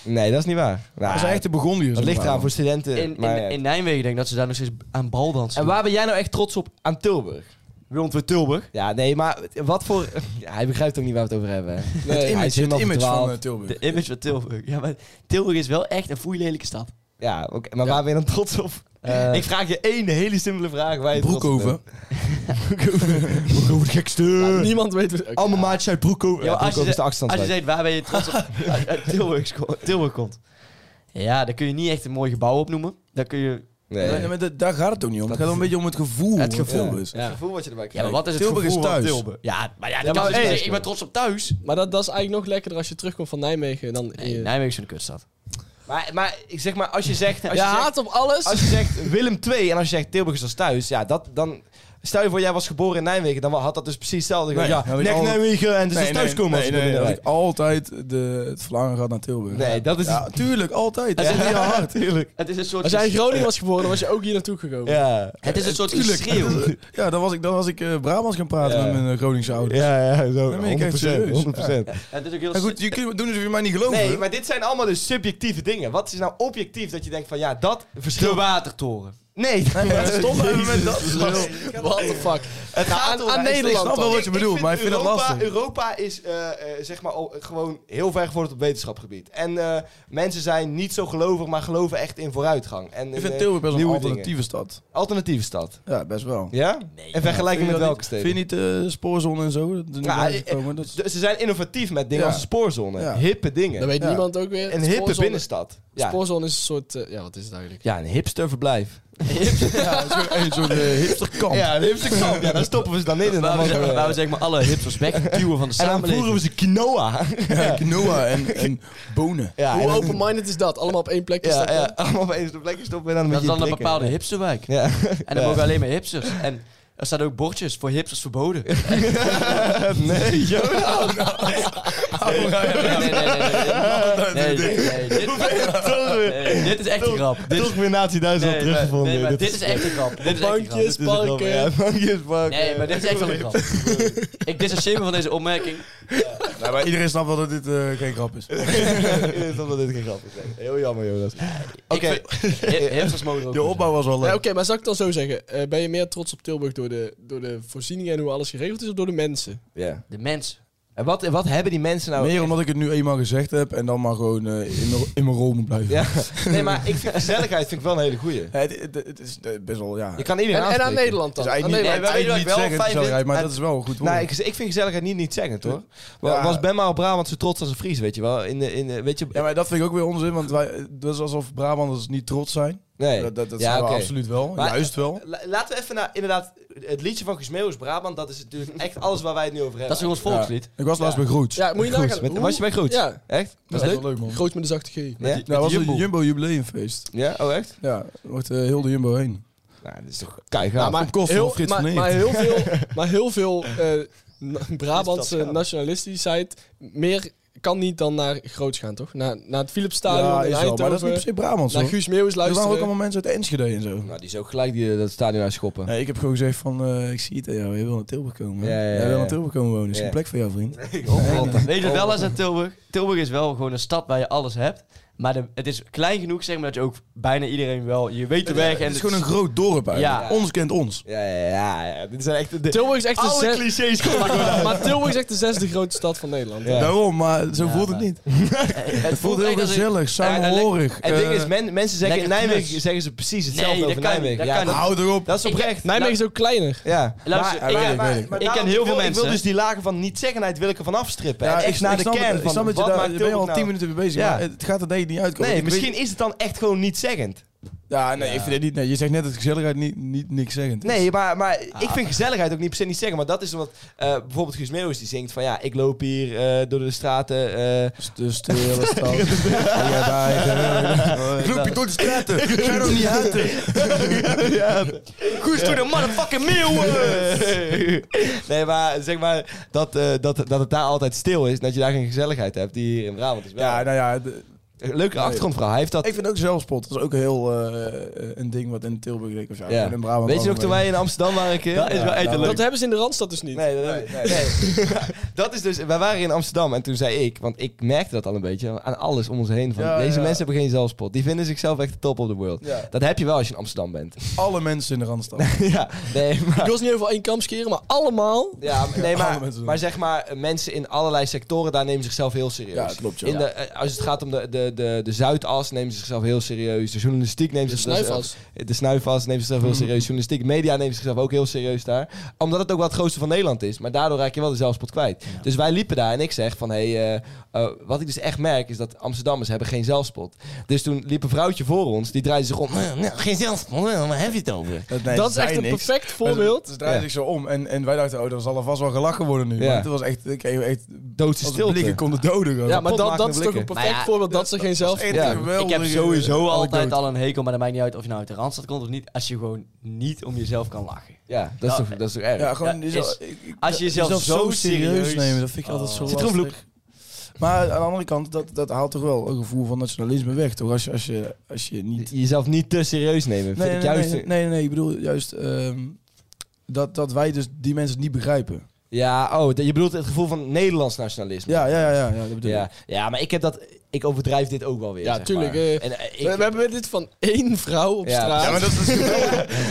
Speaker 2: Nee, dat is niet waar. Nou,
Speaker 5: Dat zijn echte Bourgondiërs.
Speaker 2: dat ligt
Speaker 5: in
Speaker 2: eraan voor
Speaker 5: Brabant.
Speaker 2: studenten.
Speaker 4: In,
Speaker 2: maar, ja.
Speaker 4: in, in Nijmegen denk ik dat ze daar nog steeds aan bal dansen.
Speaker 2: en waar ben jij nou echt trots op aan Tilburg?
Speaker 4: Rond weer Tilburg.
Speaker 2: Ja, nee, maar wat voor... Ja, hij begrijpt ook niet waar we het over hebben. hè. hij
Speaker 3: Nee,
Speaker 5: Het
Speaker 2: is
Speaker 5: image, het
Speaker 2: helemaal
Speaker 5: image van
Speaker 2: verdwaald.
Speaker 5: eh, Tilburg.
Speaker 4: De image van Tilburg. Ja, maar Tilburg is wel echt een foeilelijke stad.
Speaker 2: Ja, oké maar
Speaker 3: Ja.
Speaker 2: waar ben je dan trots op?
Speaker 4: Eh,
Speaker 2: ik vraag je één hele simpele vraag. Waar je trots op
Speaker 5: Broekhoven.
Speaker 2: bent. Broekhoven, de gekste.
Speaker 5: Mm.
Speaker 3: Nou, niemand weet... wat-
Speaker 2: Allemaal maatjes uit Broekhoven. Ja,
Speaker 4: Ja, maar als je
Speaker 2: Broekhoven is de
Speaker 4: Als je
Speaker 2: achterstandswijk.
Speaker 4: zegt, waar ben je trots op uit uit Tilburg, sco- Tilburg komt. Ja, daar kun je niet echt een mooi gebouw opnoemen. Daar kun je...
Speaker 2: Nee.
Speaker 5: Nee, maar dat- daar gaat het ook niet om. Het gaat een beetje om het gevoel.
Speaker 4: Het gevoel.
Speaker 5: wat is.
Speaker 3: Ja.
Speaker 2: gevoel wat je erbij
Speaker 4: Ja, maar wat is het
Speaker 5: Tilburg is
Speaker 4: gevoel van
Speaker 5: thuis.
Speaker 4: Tilburg? Ja, maar ja, dat
Speaker 3: Ja,
Speaker 4: kan
Speaker 3: maar
Speaker 4: dus
Speaker 3: hey,
Speaker 4: niet. ik ben trots op thuis.
Speaker 3: Maar dat, dat is eigenlijk nog lekkerder als je terugkomt van Nijmegen. Dan
Speaker 4: Nee,
Speaker 3: je-
Speaker 4: Nijmegen is zo'n kutstad.
Speaker 2: Maar, maar ik zeg maar, als je zegt... Als
Speaker 3: je
Speaker 2: je zegt
Speaker 3: haat op alles.
Speaker 2: als je zegt Willem II en als je zegt Tilburg is als thuis, ja, dat dan. Stel je voor, jij was geboren in Nijmegen, dan had dat dus precies hetzelfde.
Speaker 5: Nee,
Speaker 2: ja,
Speaker 5: dan had ik
Speaker 2: nek
Speaker 5: al-
Speaker 2: Nijmegen en dus is thuis komen.
Speaker 5: nee,
Speaker 2: als je
Speaker 5: nee,
Speaker 2: binnen-
Speaker 5: dat ik eh, altijd de, het verlangen gehad naar Tilburg.
Speaker 2: Nee, dat is-
Speaker 5: Ja, tuurlijk, altijd.
Speaker 4: Dat is-
Speaker 5: Ja, hard.
Speaker 2: Tuurlijk.
Speaker 4: Het is een soort...
Speaker 3: Als jij in Groningen was geboren, dan was je ook hier naartoe gekomen.
Speaker 2: Ja.
Speaker 4: Het is een soort
Speaker 5: Tuurlijk.
Speaker 4: geschreeuw.
Speaker 5: Ja, dan was ik, dan was ik eh, Brabants gaan praten
Speaker 2: Ja.
Speaker 5: met mijn eh, Groningse ouders.
Speaker 2: Ja, ja, zo.
Speaker 5: Dan ben ik echt
Speaker 2: 100%.
Speaker 5: serieus.
Speaker 2: 100%.
Speaker 4: Het is ook heel...
Speaker 5: Maar goed, je kunt, doen alsof je mij niet geloven.
Speaker 2: Nee, maar dit zijn allemaal dus subjectieve dingen. Wat is nou objectief dat je denkt van ja, dat
Speaker 4: de
Speaker 2: verschilt.
Speaker 4: watertoren.
Speaker 2: Nee,
Speaker 5: maar stom hebben we met dat.
Speaker 3: What the fuck.
Speaker 5: Nou,
Speaker 2: Het gaat
Speaker 3: aan-
Speaker 2: om-
Speaker 3: aan
Speaker 2: hij is-
Speaker 3: Nederland
Speaker 5: Ik snap wel
Speaker 2: dan.
Speaker 5: wat je bedoelt, maar ik vind dat
Speaker 2: Europa,
Speaker 5: lastig.
Speaker 2: Europa is eh, eh, zeg maar al, gewoon heel ver gevorderd op wetenschapgebied. En eh, mensen zijn niet zo gelovig, maar geloven echt in vooruitgang. En,
Speaker 5: Ik
Speaker 2: in, eh,
Speaker 5: vind Tilburg best een
Speaker 2: nieuwe
Speaker 5: alternatieve
Speaker 2: dingen.
Speaker 5: stad.
Speaker 2: Alternatieve stad.
Speaker 5: Ja, best wel.
Speaker 2: Ja? En vergelijking
Speaker 5: Vind je
Speaker 2: met
Speaker 5: dat
Speaker 2: welke
Speaker 5: niet-
Speaker 2: steden?
Speaker 5: Vind je niet de spoorzone en zo? Dat er
Speaker 2: Ja,
Speaker 5: niet bij
Speaker 2: eh,
Speaker 5: komen, dat is-
Speaker 2: Dus ze zijn innovatief met dingen
Speaker 5: Ja.
Speaker 2: als de spoorzone.
Speaker 5: Ja.
Speaker 2: Hippe
Speaker 3: Dat
Speaker 2: dingen.
Speaker 3: weet
Speaker 5: Ja.
Speaker 3: niemand ook weer.
Speaker 2: Een
Speaker 3: Het
Speaker 2: hippe
Speaker 3: spoorzone-
Speaker 2: binnenstad. Ja.
Speaker 3: Spoorzone is een soort... eh, ja, wat is het eigenlijk?
Speaker 2: ja, een hipster verblijf.
Speaker 5: Ja, het is gewoon een soort eh, hipsterkamp.
Speaker 2: Ja, een hipster kamp. Ja, daar stoppen we ze dan in. En dan,
Speaker 4: Waar we,
Speaker 2: mogen we-
Speaker 4: zeg- waar we zeg maar alle hipsters wegduwen van de
Speaker 2: en dan
Speaker 4: samenleving.
Speaker 2: voeren we ze quinoa.
Speaker 5: Ja, quinoa en, en bonen.
Speaker 2: Ja, en
Speaker 3: Hoe
Speaker 2: dan-
Speaker 3: open-minded is dat? Allemaal op één plekje
Speaker 2: ja,
Speaker 3: staan?
Speaker 2: ja, allemaal op eens op plekje stoppen en dan
Speaker 4: Dat
Speaker 2: met
Speaker 4: is
Speaker 2: je
Speaker 4: dan een
Speaker 2: blikken.
Speaker 4: bepaalde hipsterwijk.
Speaker 2: Ja.
Speaker 4: En dan mogen alleen maar hipsters. En er staan ook bordjes voor hipsters verboden. Nee,
Speaker 2: nee, joh.
Speaker 4: nee, nee. nee, nee, nee, nee, nee, dit- nee, Dit is echt een grap. Dit
Speaker 2: Toch weer Nazi Duitsland
Speaker 4: nee, maar-
Speaker 2: teruggevonden.
Speaker 4: nee, maar
Speaker 2: dit
Speaker 4: dit is echt een grap. Dit is echt een grap.
Speaker 3: Bankjes,
Speaker 2: dit is een grap,
Speaker 3: parken.
Speaker 2: ja. Bankjes, parken.
Speaker 4: Nee, maar dit is echt wel een grap. Ik dissocieer me van deze opmerking.
Speaker 5: Nou, maar iedereen snapt wel dat dit eh, geen grap is.
Speaker 2: Ik weet dat dit geen grap is. nee. Heel jammer, Jonas. Oké.
Speaker 4: Oké. Hipsters mogen er ook.
Speaker 5: De
Speaker 4: niet
Speaker 5: opbouw was wel
Speaker 3: Ja,
Speaker 5: leuk.
Speaker 3: Oké, maar zou ik dan zo zeggen? eh, ben je meer trots op Tilburg door de, door de voorzieningen en hoe alles geregeld is of door de mensen?
Speaker 2: Ja.
Speaker 4: zijn. De mens.
Speaker 2: En wat, wat hebben die mensen nou...
Speaker 5: Meer omdat ik het nu eenmaal gezegd heb en dan maar gewoon eh, in mijn- in mijn rol moet blijven.
Speaker 2: Ja. Nee, maar ik vind gezelligheid vind ik wel een hele goeie.
Speaker 5: Het, het, het is eh, best wel, ja.
Speaker 2: Je
Speaker 5: Ik
Speaker 2: kan iedereen
Speaker 3: En, en aan
Speaker 2: aanspreken.
Speaker 3: Nederland dan?
Speaker 5: is eigenlijk
Speaker 3: Aan
Speaker 5: Dus niet,
Speaker 3: Nederland.
Speaker 4: Ah, nee, maar weet je wat ik
Speaker 5: eigenlijk niet
Speaker 4: wel
Speaker 5: zeggen
Speaker 4: fijn
Speaker 5: gezelligheid,
Speaker 4: vind?
Speaker 5: maar dat is wel een goed woord.
Speaker 2: Nou, ik, ik vind gezelligheid niet niet zeggen, hoor. Wa-
Speaker 5: Ja.
Speaker 2: Was Ben maar op Brabant zo trots als een Fries, weet je wel. In, de- in, de- weet je,
Speaker 5: ja, maar dat vind ik ook weer onzin, want wij, dat is alsof Brabanders niet trots zijn.
Speaker 2: nee.
Speaker 5: Dat, dat, dat
Speaker 2: Ja,
Speaker 5: zijn
Speaker 2: oké.
Speaker 5: we absoluut wel,
Speaker 2: Maar-
Speaker 5: juist wel.
Speaker 2: La- Laten we even naar, inderdaad, het liedje van Gesmeeuws Brabant, dat is natuurlijk echt alles waar wij het nu over
Speaker 4: Dat
Speaker 2: hebben.
Speaker 4: is ons volkslied.
Speaker 5: Ik was laatst
Speaker 2: Ja.
Speaker 5: bij Groets.
Speaker 3: Ja, moet je
Speaker 5: Groets,
Speaker 3: nagaan.
Speaker 2: Met-
Speaker 3: hoe-
Speaker 2: was je bij Groets?
Speaker 3: Ja,
Speaker 2: Echt?
Speaker 5: Dat is wel leuk, man.
Speaker 3: groot met een zachte G.
Speaker 2: Ja?
Speaker 4: Met die-
Speaker 5: Nou,
Speaker 4: met
Speaker 5: was
Speaker 4: die
Speaker 5: het Jumbo Jubileumfeest.
Speaker 2: Ja? Oh, echt?
Speaker 5: Ja, er wordt eh, heel de Jumbo heen.
Speaker 2: Nou, dat is toch kijk
Speaker 3: Nou,
Speaker 5: Van Kost,
Speaker 3: heel,
Speaker 5: van Frits
Speaker 3: maar,
Speaker 5: van Eert.
Speaker 3: maar heel veel, maar heel veel eh, na- Brabantse
Speaker 2: Schaap.
Speaker 3: nationalistischheid meer kan niet dan naar groots gaan, toch? Naar, naar het Philipsstadion
Speaker 5: ja,
Speaker 3: in
Speaker 5: is wel,
Speaker 3: Eindhoven.
Speaker 5: maar dat is niet per se Brabants,
Speaker 3: naar
Speaker 5: hoor.
Speaker 3: Guus Meeuwis
Speaker 5: Er waren ook
Speaker 3: luisteren.
Speaker 5: allemaal mensen uit Enschede en zo.
Speaker 2: Nou, die is ook gelijk die, eh, dat stadion naar schoppen.
Speaker 5: Nee, ik heb gewoon gezegd van, eh, ik zie het aan jou, je wil naar Tilburg komen. hè?
Speaker 2: Ja, ja, ja,
Speaker 5: Jij wil
Speaker 2: ja.
Speaker 5: naar Tilburg komen wonen, is
Speaker 2: Ja.
Speaker 5: geen plek voor jou, vriend.
Speaker 4: Weet je wel eens aan Tilburg? Tilburg is wel gewoon een stad waar je alles hebt. Maar de- het is klein genoeg, zeg maar, dat je ook bijna iedereen wel... Je weet de weg en...
Speaker 5: Het is gewoon een groot dorp eigenlijk.
Speaker 4: Ja.
Speaker 5: Ons kent ons.
Speaker 2: Ja, ja, ja, ja. Dit zijn echt de...
Speaker 3: Tilburg is echt de
Speaker 2: Alle
Speaker 3: zes-
Speaker 2: clichés komen er gewoon uit.
Speaker 3: maar Tilburg is echt de zesde grootste stad van Nederland.
Speaker 2: Ja.
Speaker 5: Daarom, maar zo
Speaker 4: Ja,
Speaker 5: voelt het
Speaker 4: maar-
Speaker 5: niet.
Speaker 4: Het,
Speaker 5: Het voelt heel
Speaker 4: echt als een-
Speaker 5: gezellig, samenhorig.
Speaker 2: En het ding
Speaker 5: eh,
Speaker 2: is, men- mensen zeggen in
Speaker 4: lekker
Speaker 2: Nijmegen
Speaker 4: knus.
Speaker 2: zeggen ze precies hetzelfde
Speaker 4: Nee, dat
Speaker 2: over
Speaker 4: kan niet,
Speaker 2: Nijmegen.
Speaker 4: dat
Speaker 2: ja,
Speaker 4: kan
Speaker 2: dat, Nou,
Speaker 4: niet.
Speaker 5: Houd erop.
Speaker 2: dat is oprecht.
Speaker 3: Nijmegen is ook kleiner.
Speaker 2: Ja.
Speaker 4: Luister,
Speaker 2: Maar-
Speaker 4: ik-
Speaker 2: maar-
Speaker 4: ik-
Speaker 2: maar-
Speaker 5: ik-
Speaker 2: maar
Speaker 4: ik
Speaker 2: daarom-
Speaker 4: ken heel veel
Speaker 2: wil- Ik wil
Speaker 4: mensen.
Speaker 2: dus die lagen van niet-zeggenheid wil ik ervan afstrippen.
Speaker 5: Ja,
Speaker 2: en echt naar de
Speaker 5: snap het,
Speaker 2: kern
Speaker 5: Ik
Speaker 2: van
Speaker 5: snap dat je
Speaker 2: wat
Speaker 5: daar,
Speaker 2: maakt
Speaker 5: je bent al
Speaker 2: Tilburg
Speaker 5: tien
Speaker 2: nou-
Speaker 5: minuten mee bezig,
Speaker 2: Ja.
Speaker 5: maar het gaat er denk ik niet uitkomen.
Speaker 2: Nee,
Speaker 5: Ik weet-
Speaker 2: misschien is het dan echt gewoon niet-zeggend.
Speaker 5: Ja, nee, ik vind het niet... Nee, je zegt net dat gezelligheid niet, niet niks zeggend is.
Speaker 2: Nee, maar, maar ik vind gezelligheid ook niet per se niet zeggen. Maar dat is omdat eh, bijvoorbeeld Guus Meeuwis die zingt van... Ja, ik loop hier eh, door de straten. eh,
Speaker 5: Dus- De stille stad. Ja, daar, eh, Ik loop je door de straten. Ik ga nog niet uit.
Speaker 4: Goed, doe de motherfucking meeuwen!
Speaker 2: nee, maar zeg maar dat, eh, dat, dat het daar altijd stil is. en Dat je daar geen gezelligheid hebt. Die hier in Brabant is wel.
Speaker 5: Ja, nou ja. de-
Speaker 2: Leuke achtergrondverhaal. Hij heeft dat...
Speaker 5: ik vind ook zelfspot. Dat is ook heel eh, een ding wat in Tilburg denk ik. Of ja,
Speaker 2: Ja.
Speaker 5: in Brabant.
Speaker 2: Weet je nog
Speaker 5: allemaal
Speaker 2: toen wij in Amsterdam waren een keer?
Speaker 4: Dat is wel echt een
Speaker 5: Leuk.
Speaker 3: Dat hebben ze in de Randstad dus niet.
Speaker 2: Nee, dat, dat is dus... Wij waren in Amsterdam en toen zei ik... Want ik merkte dat al een beetje aan alles om ons heen. Van,
Speaker 5: Ja,
Speaker 2: deze
Speaker 5: ja.
Speaker 2: mensen hebben geen zelfspot. Die vinden zichzelf echt de top op de world.
Speaker 5: Ja.
Speaker 2: Dat heb je wel als je in Amsterdam bent.
Speaker 5: Alle mensen in de Randstad.
Speaker 2: ja, nee, maar...
Speaker 3: Ik wil ze niet over één kam scheren, maar allemaal.
Speaker 2: Ja, maar- nee,
Speaker 5: Alle
Speaker 2: maar,
Speaker 5: mensen doen
Speaker 2: maar eh,
Speaker 5: het.
Speaker 2: zeg maar, mensen in allerlei sectoren, daar nemen zichzelf heel serieus.
Speaker 5: Ja, klopt, ja.
Speaker 2: In de, eh, als het gaat om de, de, de, de, de Zuidas neemt zichzelf heel serieus. De journalistiek neemt
Speaker 3: De
Speaker 2: zichzelf...
Speaker 3: snuifas.
Speaker 2: De snuifas neemt zichzelf heel serieus. Journalistiek, media neemt zichzelf ook heel serieus daar. Omdat het ook wel het grootste van Nederland is. Maar daardoor raak je wel de zelfspot kwijt. Dus wij liepen daar en ik zeg van... Hey, eh, eh, wat ik dus echt merk is dat Amsterdammers hebben geen zelfspot. Dus toen liep een vrouwtje voor ons. Die draaide zich om. "Nou, nou, geen zelfspot, nou, waar heb je het over?
Speaker 3: dat is echt een perfect voorbeeld.
Speaker 5: Dus draaide
Speaker 2: Ja.
Speaker 5: ik zo om en, en wij dachten, oh, dat zal alvast wel gelachen worden nu.
Speaker 2: Ja.
Speaker 5: Ja. het was echt, ik kreeg echt
Speaker 2: Doodse
Speaker 5: als
Speaker 2: stilte.
Speaker 5: blikken konden doden. gewoon.
Speaker 3: Ja, maar
Speaker 2: potmaakende
Speaker 3: dat, dat is toch
Speaker 2: blikken.
Speaker 3: een perfect
Speaker 4: Maar ja,
Speaker 3: voorbeeld dat ze geen zelf...
Speaker 5: echt
Speaker 2: Ja.
Speaker 5: een
Speaker 4: Ik heb
Speaker 5: geweldige
Speaker 4: sowieso altijd
Speaker 5: anekdote.
Speaker 4: al een hekel, maar dat maakt niet uit of je nou uit de Randstad komt of niet. Als je gewoon niet om jezelf kan lachen.
Speaker 2: Ja, dat is,
Speaker 4: Ja.
Speaker 2: toch, dat is toch erg?
Speaker 5: Ja, gewoon
Speaker 4: Ja,
Speaker 5: is-
Speaker 4: is-
Speaker 5: ik- ik-
Speaker 4: Als je jezelf zo serieus-
Speaker 5: nemen, dat vind ik
Speaker 4: Oh.
Speaker 5: altijd zo
Speaker 2: Citroenbloem.
Speaker 5: lastig. Maar aan de andere kant, dat, dat haalt toch wel een gevoel van nationalisme weg, toch? Als je, als je, als je niet...
Speaker 2: Jezelf niet te serieus nemen. vind
Speaker 5: Nee, nee,
Speaker 2: ik
Speaker 5: nee,
Speaker 2: juist...
Speaker 5: nee, nee, nee, ik bedoel juist ehm, dat, dat wij dus die mensen niet begrijpen.
Speaker 2: Ja, oh, dat- je bedoelt het gevoel van Nederlands nationalisme.
Speaker 5: Ja, ja, ja, ja, ja dat bedoel ik.
Speaker 2: Ja, ja, maar ik heb dat. Ik overdrijf dit ook wel weer.
Speaker 3: Ja,
Speaker 2: zeg
Speaker 3: tuurlijk,
Speaker 2: maar.
Speaker 3: eh,
Speaker 2: en, eh, ik-
Speaker 3: We, we hebben dit van één vrouw op
Speaker 2: Ja.
Speaker 3: straat.
Speaker 2: Ja,
Speaker 5: dat is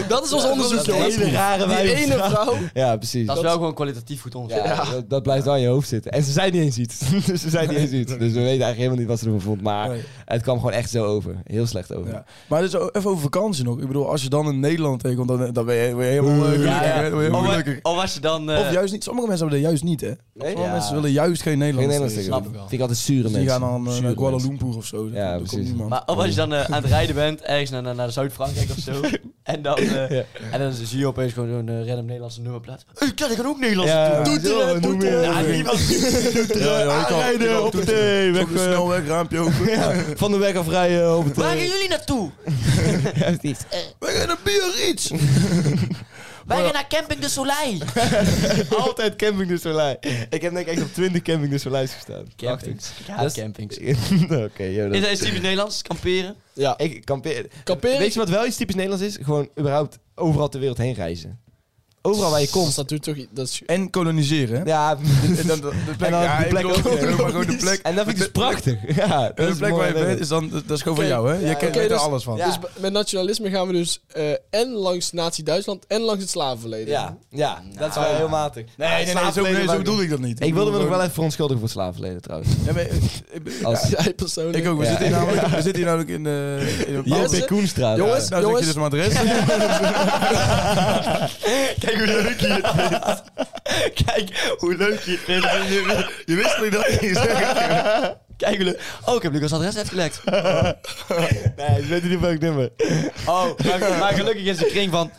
Speaker 3: dat is ons
Speaker 2: Ja,
Speaker 3: onderzoek,
Speaker 2: dat is een
Speaker 3: jongens.
Speaker 2: hele rare
Speaker 3: Die
Speaker 2: wijf op
Speaker 3: ene
Speaker 2: straat.
Speaker 3: vrouw.
Speaker 2: ja, precies.
Speaker 4: Dat is wel gewoon kwalitatief goed
Speaker 2: ja,
Speaker 4: onderzoek.
Speaker 2: Dat, dat blijft wel in je hoofd zitten. En ze zijn niet eens iets. dus ze zijn niet eens iets. Dus we weten eigenlijk helemaal niet wat ze ervan vond. Maar
Speaker 5: Nee.
Speaker 2: het kwam gewoon echt zo over. Heel slecht over.
Speaker 5: Ja. Maar dus o- even over vakantie nog. Ik bedoel, als je dan in Nederland tegenkomt, dan, dan ben je, ben je helemaal eh, gelukkig.
Speaker 4: Ja, ja.
Speaker 5: hè? Dan ben je helemaal
Speaker 4: Of,
Speaker 5: gelukkig.
Speaker 4: of als je dan... eh,
Speaker 5: Of juist niet. Sommige mensen hebben dat juist niet, hè?
Speaker 2: Nee?
Speaker 5: Sommige
Speaker 2: Ja.
Speaker 5: mensen willen juist geen
Speaker 2: Geen
Speaker 5: Nederlanders.
Speaker 2: Nederlands tegen.
Speaker 4: snap ik wel.
Speaker 2: Vind ik altijd zure
Speaker 5: Dus
Speaker 2: mensen.
Speaker 5: die gaan dan eh,
Speaker 2: Zure
Speaker 5: naar Kuala
Speaker 2: mensen.
Speaker 5: Lumpur of zo.
Speaker 2: Ja,
Speaker 5: Ja,
Speaker 2: precies.
Speaker 5: precies.
Speaker 4: Maar of als je dan eh, aan het rijden bent, ergens naar, naar, naar Zuid-Frankrijk of zo. en, dan, eh, en dan zie je opeens gewoon zo'n eh, random Nederlandse nummerplaat. Hé, hey, ik kan ook Nederlands
Speaker 2: Ja,
Speaker 4: doen.
Speaker 2: zo,
Speaker 5: Toeteren,
Speaker 2: noem
Speaker 5: toeteren.
Speaker 2: maar.
Speaker 4: Ja, niemand
Speaker 2: Aanrijden, hoppatee, weg, eh,
Speaker 5: snelweg, raampje open.
Speaker 2: Van de weg afrijden op het...
Speaker 4: Waar gaan jullie naartoe?
Speaker 5: We gaan naar Biarritz.
Speaker 4: Wij gaan naar Camping de Soleil.
Speaker 2: Altijd camping de Soleil. Ik heb denk ik echt op 20 camping de Soleils gestaan.
Speaker 4: Campings.
Speaker 2: Prachtig.
Speaker 4: Ik haat
Speaker 2: Dat is-
Speaker 4: campings.
Speaker 2: Oké, joh, dat-
Speaker 4: Is dat iets typisch Nederlands? Kamperen?
Speaker 3: Ja.
Speaker 2: Ik kampeer.
Speaker 3: Kamperen-
Speaker 2: Weet je wat wel iets typisch Nederlands is? Gewoon überhaupt overal ter wereld heen reizen. Overal waar je
Speaker 3: Dus
Speaker 2: komt.
Speaker 3: Dat doet toch... i- Dat is,
Speaker 5: En koloniseren, hè?
Speaker 2: Ja,
Speaker 5: En dan de- de
Speaker 2: En
Speaker 5: plek,
Speaker 2: dan
Speaker 5: ja,
Speaker 2: de
Speaker 5: ik
Speaker 2: plek
Speaker 5: bedoel,
Speaker 2: ook
Speaker 5: oké,
Speaker 2: nog
Speaker 5: maar gewoon de
Speaker 2: niet.
Speaker 5: plek.
Speaker 2: En dat vind ik dus prachtig. Ja,
Speaker 5: De plek waar
Speaker 2: mooi
Speaker 5: je bent, is dan, dat is gewoon
Speaker 3: Oké.
Speaker 5: van jou, hè?
Speaker 3: Ja,
Speaker 5: Jij kent
Speaker 3: oké,
Speaker 5: weet er
Speaker 3: dus-
Speaker 5: alles van.
Speaker 2: Ja.
Speaker 3: dus b- met nationalisme gaan we dus eh en langs Nazi-Duitsland en langs het slavenverleden.
Speaker 2: Ja, ja dat is wel heel matig.
Speaker 5: Ah, Nee, nee, nee, zo, nee, zo bedoel ik dat niet.
Speaker 2: Ik wilde me nog
Speaker 5: bedoel
Speaker 2: wel
Speaker 5: gewoon-
Speaker 2: even verontschuldigen voor slavenleden trouwens.
Speaker 5: Ja, maar, eh, eh,
Speaker 2: Als
Speaker 3: Jij persoonlijk.
Speaker 5: Ik ook, we,
Speaker 2: Ja.
Speaker 5: zitten hier namelijk, we zitten hier namelijk in, eh in een
Speaker 2: Hier
Speaker 5: bepaalde...
Speaker 2: bij Koenstraat.
Speaker 3: Jongens,
Speaker 5: Nou zeg je dus mijn adres.
Speaker 4: Kijk hoe leuk je het vindt. Kijk hoe leuk je het vindt.
Speaker 5: Je wist niet dat ik ging zeggen.
Speaker 4: Kijk hoe leuk. Oh, ik heb Lucas' adres uitgelekt.
Speaker 2: Nee, ze weten niet welk nummer.
Speaker 4: Oh, maar, maar gelukkig is de kring van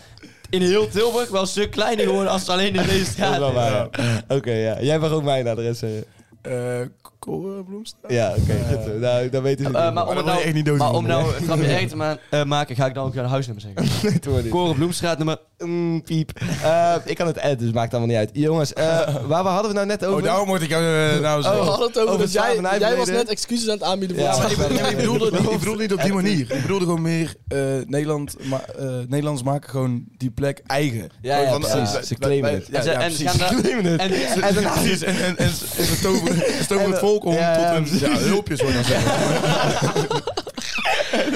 Speaker 4: in heel Tilburg wel een stuk kleiner geworden als het alleen in deze
Speaker 2: Dat is
Speaker 4: straat
Speaker 2: wel
Speaker 4: is. Eh,
Speaker 2: waar. ja. Oké, ja. Jij mag ook mijn adres zeggen.
Speaker 5: Eh, Koolbloemstraat?
Speaker 2: Ja, oké. goed zo. nou, dan weten ze
Speaker 4: Eh,
Speaker 2: het
Speaker 4: maar
Speaker 2: niet.
Speaker 4: om het
Speaker 5: Maar dan word
Speaker 4: nou,
Speaker 5: je echt niet dood
Speaker 4: maar
Speaker 5: van,
Speaker 4: om nou een grapje erg te ma- eh, maken, ga ik dan ook jouw huisnummer zeggen.
Speaker 2: Nee, doe maar niet.
Speaker 4: Koren Bloemstraat nummer...
Speaker 2: Mm, piep. Eh, ik kan het editen, dus maakt allemaal niet uit. Jongens, eh, waar waar hadden we het nou net over?
Speaker 5: Oh, daarom moet ik jou eh, nou
Speaker 3: We
Speaker 5: zeggen.
Speaker 3: hadden het over,
Speaker 2: Over
Speaker 3: dat jij, jij
Speaker 2: slavernijverleden.
Speaker 3: was net excuses aan het aanbieden voor
Speaker 2: Ja,
Speaker 3: het
Speaker 2: maar ik-
Speaker 3: slavernijverleden.
Speaker 5: Nee, maar ik bedoelde, niet- ik bedoelde niet op die manier. Ik bedoelde gewoon meer eh, Nederland, ma eh, Nederlanders maken gewoon die plek eigen.
Speaker 2: Ja, ja,
Speaker 5: Gewoon van,
Speaker 2: precies.
Speaker 5: eh,
Speaker 2: Ze
Speaker 5: wij-
Speaker 2: claimen
Speaker 5: wij-
Speaker 2: het.
Speaker 5: Ja,
Speaker 4: En ze-
Speaker 5: ja,
Speaker 4: en ze
Speaker 5: precies.
Speaker 4: gaan daar-
Speaker 2: Claimen het.
Speaker 4: En,
Speaker 2: En daarna-
Speaker 5: Precies, en, en, en, en ze toveren, ze toveren
Speaker 2: En-
Speaker 5: het volk om
Speaker 2: ja, ja,
Speaker 5: tot een... eh, Ja, hulpjes wordt dan zeggen.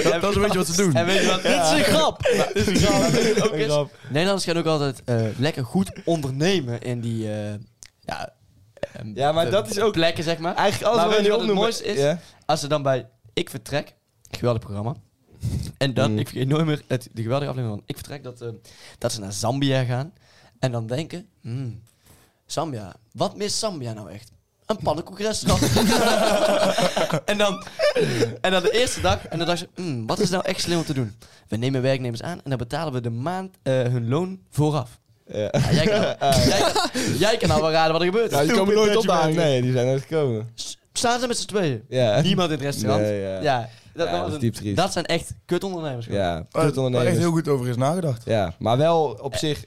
Speaker 5: dat, dat is een beetje wat ze doen.
Speaker 4: en weet je wat?
Speaker 3: Dit is een grap.
Speaker 4: Dit is een grap. Ook
Speaker 2: Een
Speaker 4: is-
Speaker 2: grap.
Speaker 4: Nederlanders gaan ook altijd eh, lekker goed ondernemen in die... eh, ja, ehm,
Speaker 2: Ja, maar dat is ook-
Speaker 4: Plekken, zeg maar.
Speaker 2: Eigenlijk alles
Speaker 4: Maar
Speaker 2: wat
Speaker 4: weet
Speaker 2: we nu
Speaker 4: je wat het
Speaker 2: opnoemen-
Speaker 4: mooiste is?
Speaker 2: Ja?
Speaker 4: Als ze dan bij Ik Vertrek, geweldig programma. En dan,
Speaker 2: Mm.
Speaker 4: ik vergeet nooit meer het, de geweldige aflevering van Ik Vertrek, dat, eh, dat ze naar Zambia gaan. En dan denken, hmm, Zambia, wat mist Zambia nou echt? Een pannenkoekrestaurant. en, dan, en dan de eerste dag, en dan dacht ze, hmm, wat is nou echt slim om te doen? We nemen werknemers aan en dan betalen we de maand eh, hun loon vooraf.
Speaker 2: Ja.
Speaker 4: Ja, jij, kan, jij, kan, jij kan nou wel raden wat er gebeurt.
Speaker 3: die komen nooit opdagen.
Speaker 2: Nee, die zijn nooit gekomen.
Speaker 4: S- Staan ze met z'n tweeën?
Speaker 2: Ja.
Speaker 4: Niemand in het restaurant.
Speaker 2: Nee, ja.
Speaker 4: ja. dat,
Speaker 2: Ja,
Speaker 4: was
Speaker 2: dat is
Speaker 4: een-
Speaker 2: diep triest.
Speaker 4: dat zijn echt kutondernemers. gewoon.
Speaker 2: Ja,
Speaker 5: Waar-
Speaker 2: kut
Speaker 5: Waar echt
Speaker 2: ondernemers.
Speaker 5: heel goed over is nagedacht.
Speaker 2: Ja, maar wel
Speaker 4: Eh.
Speaker 2: op zich...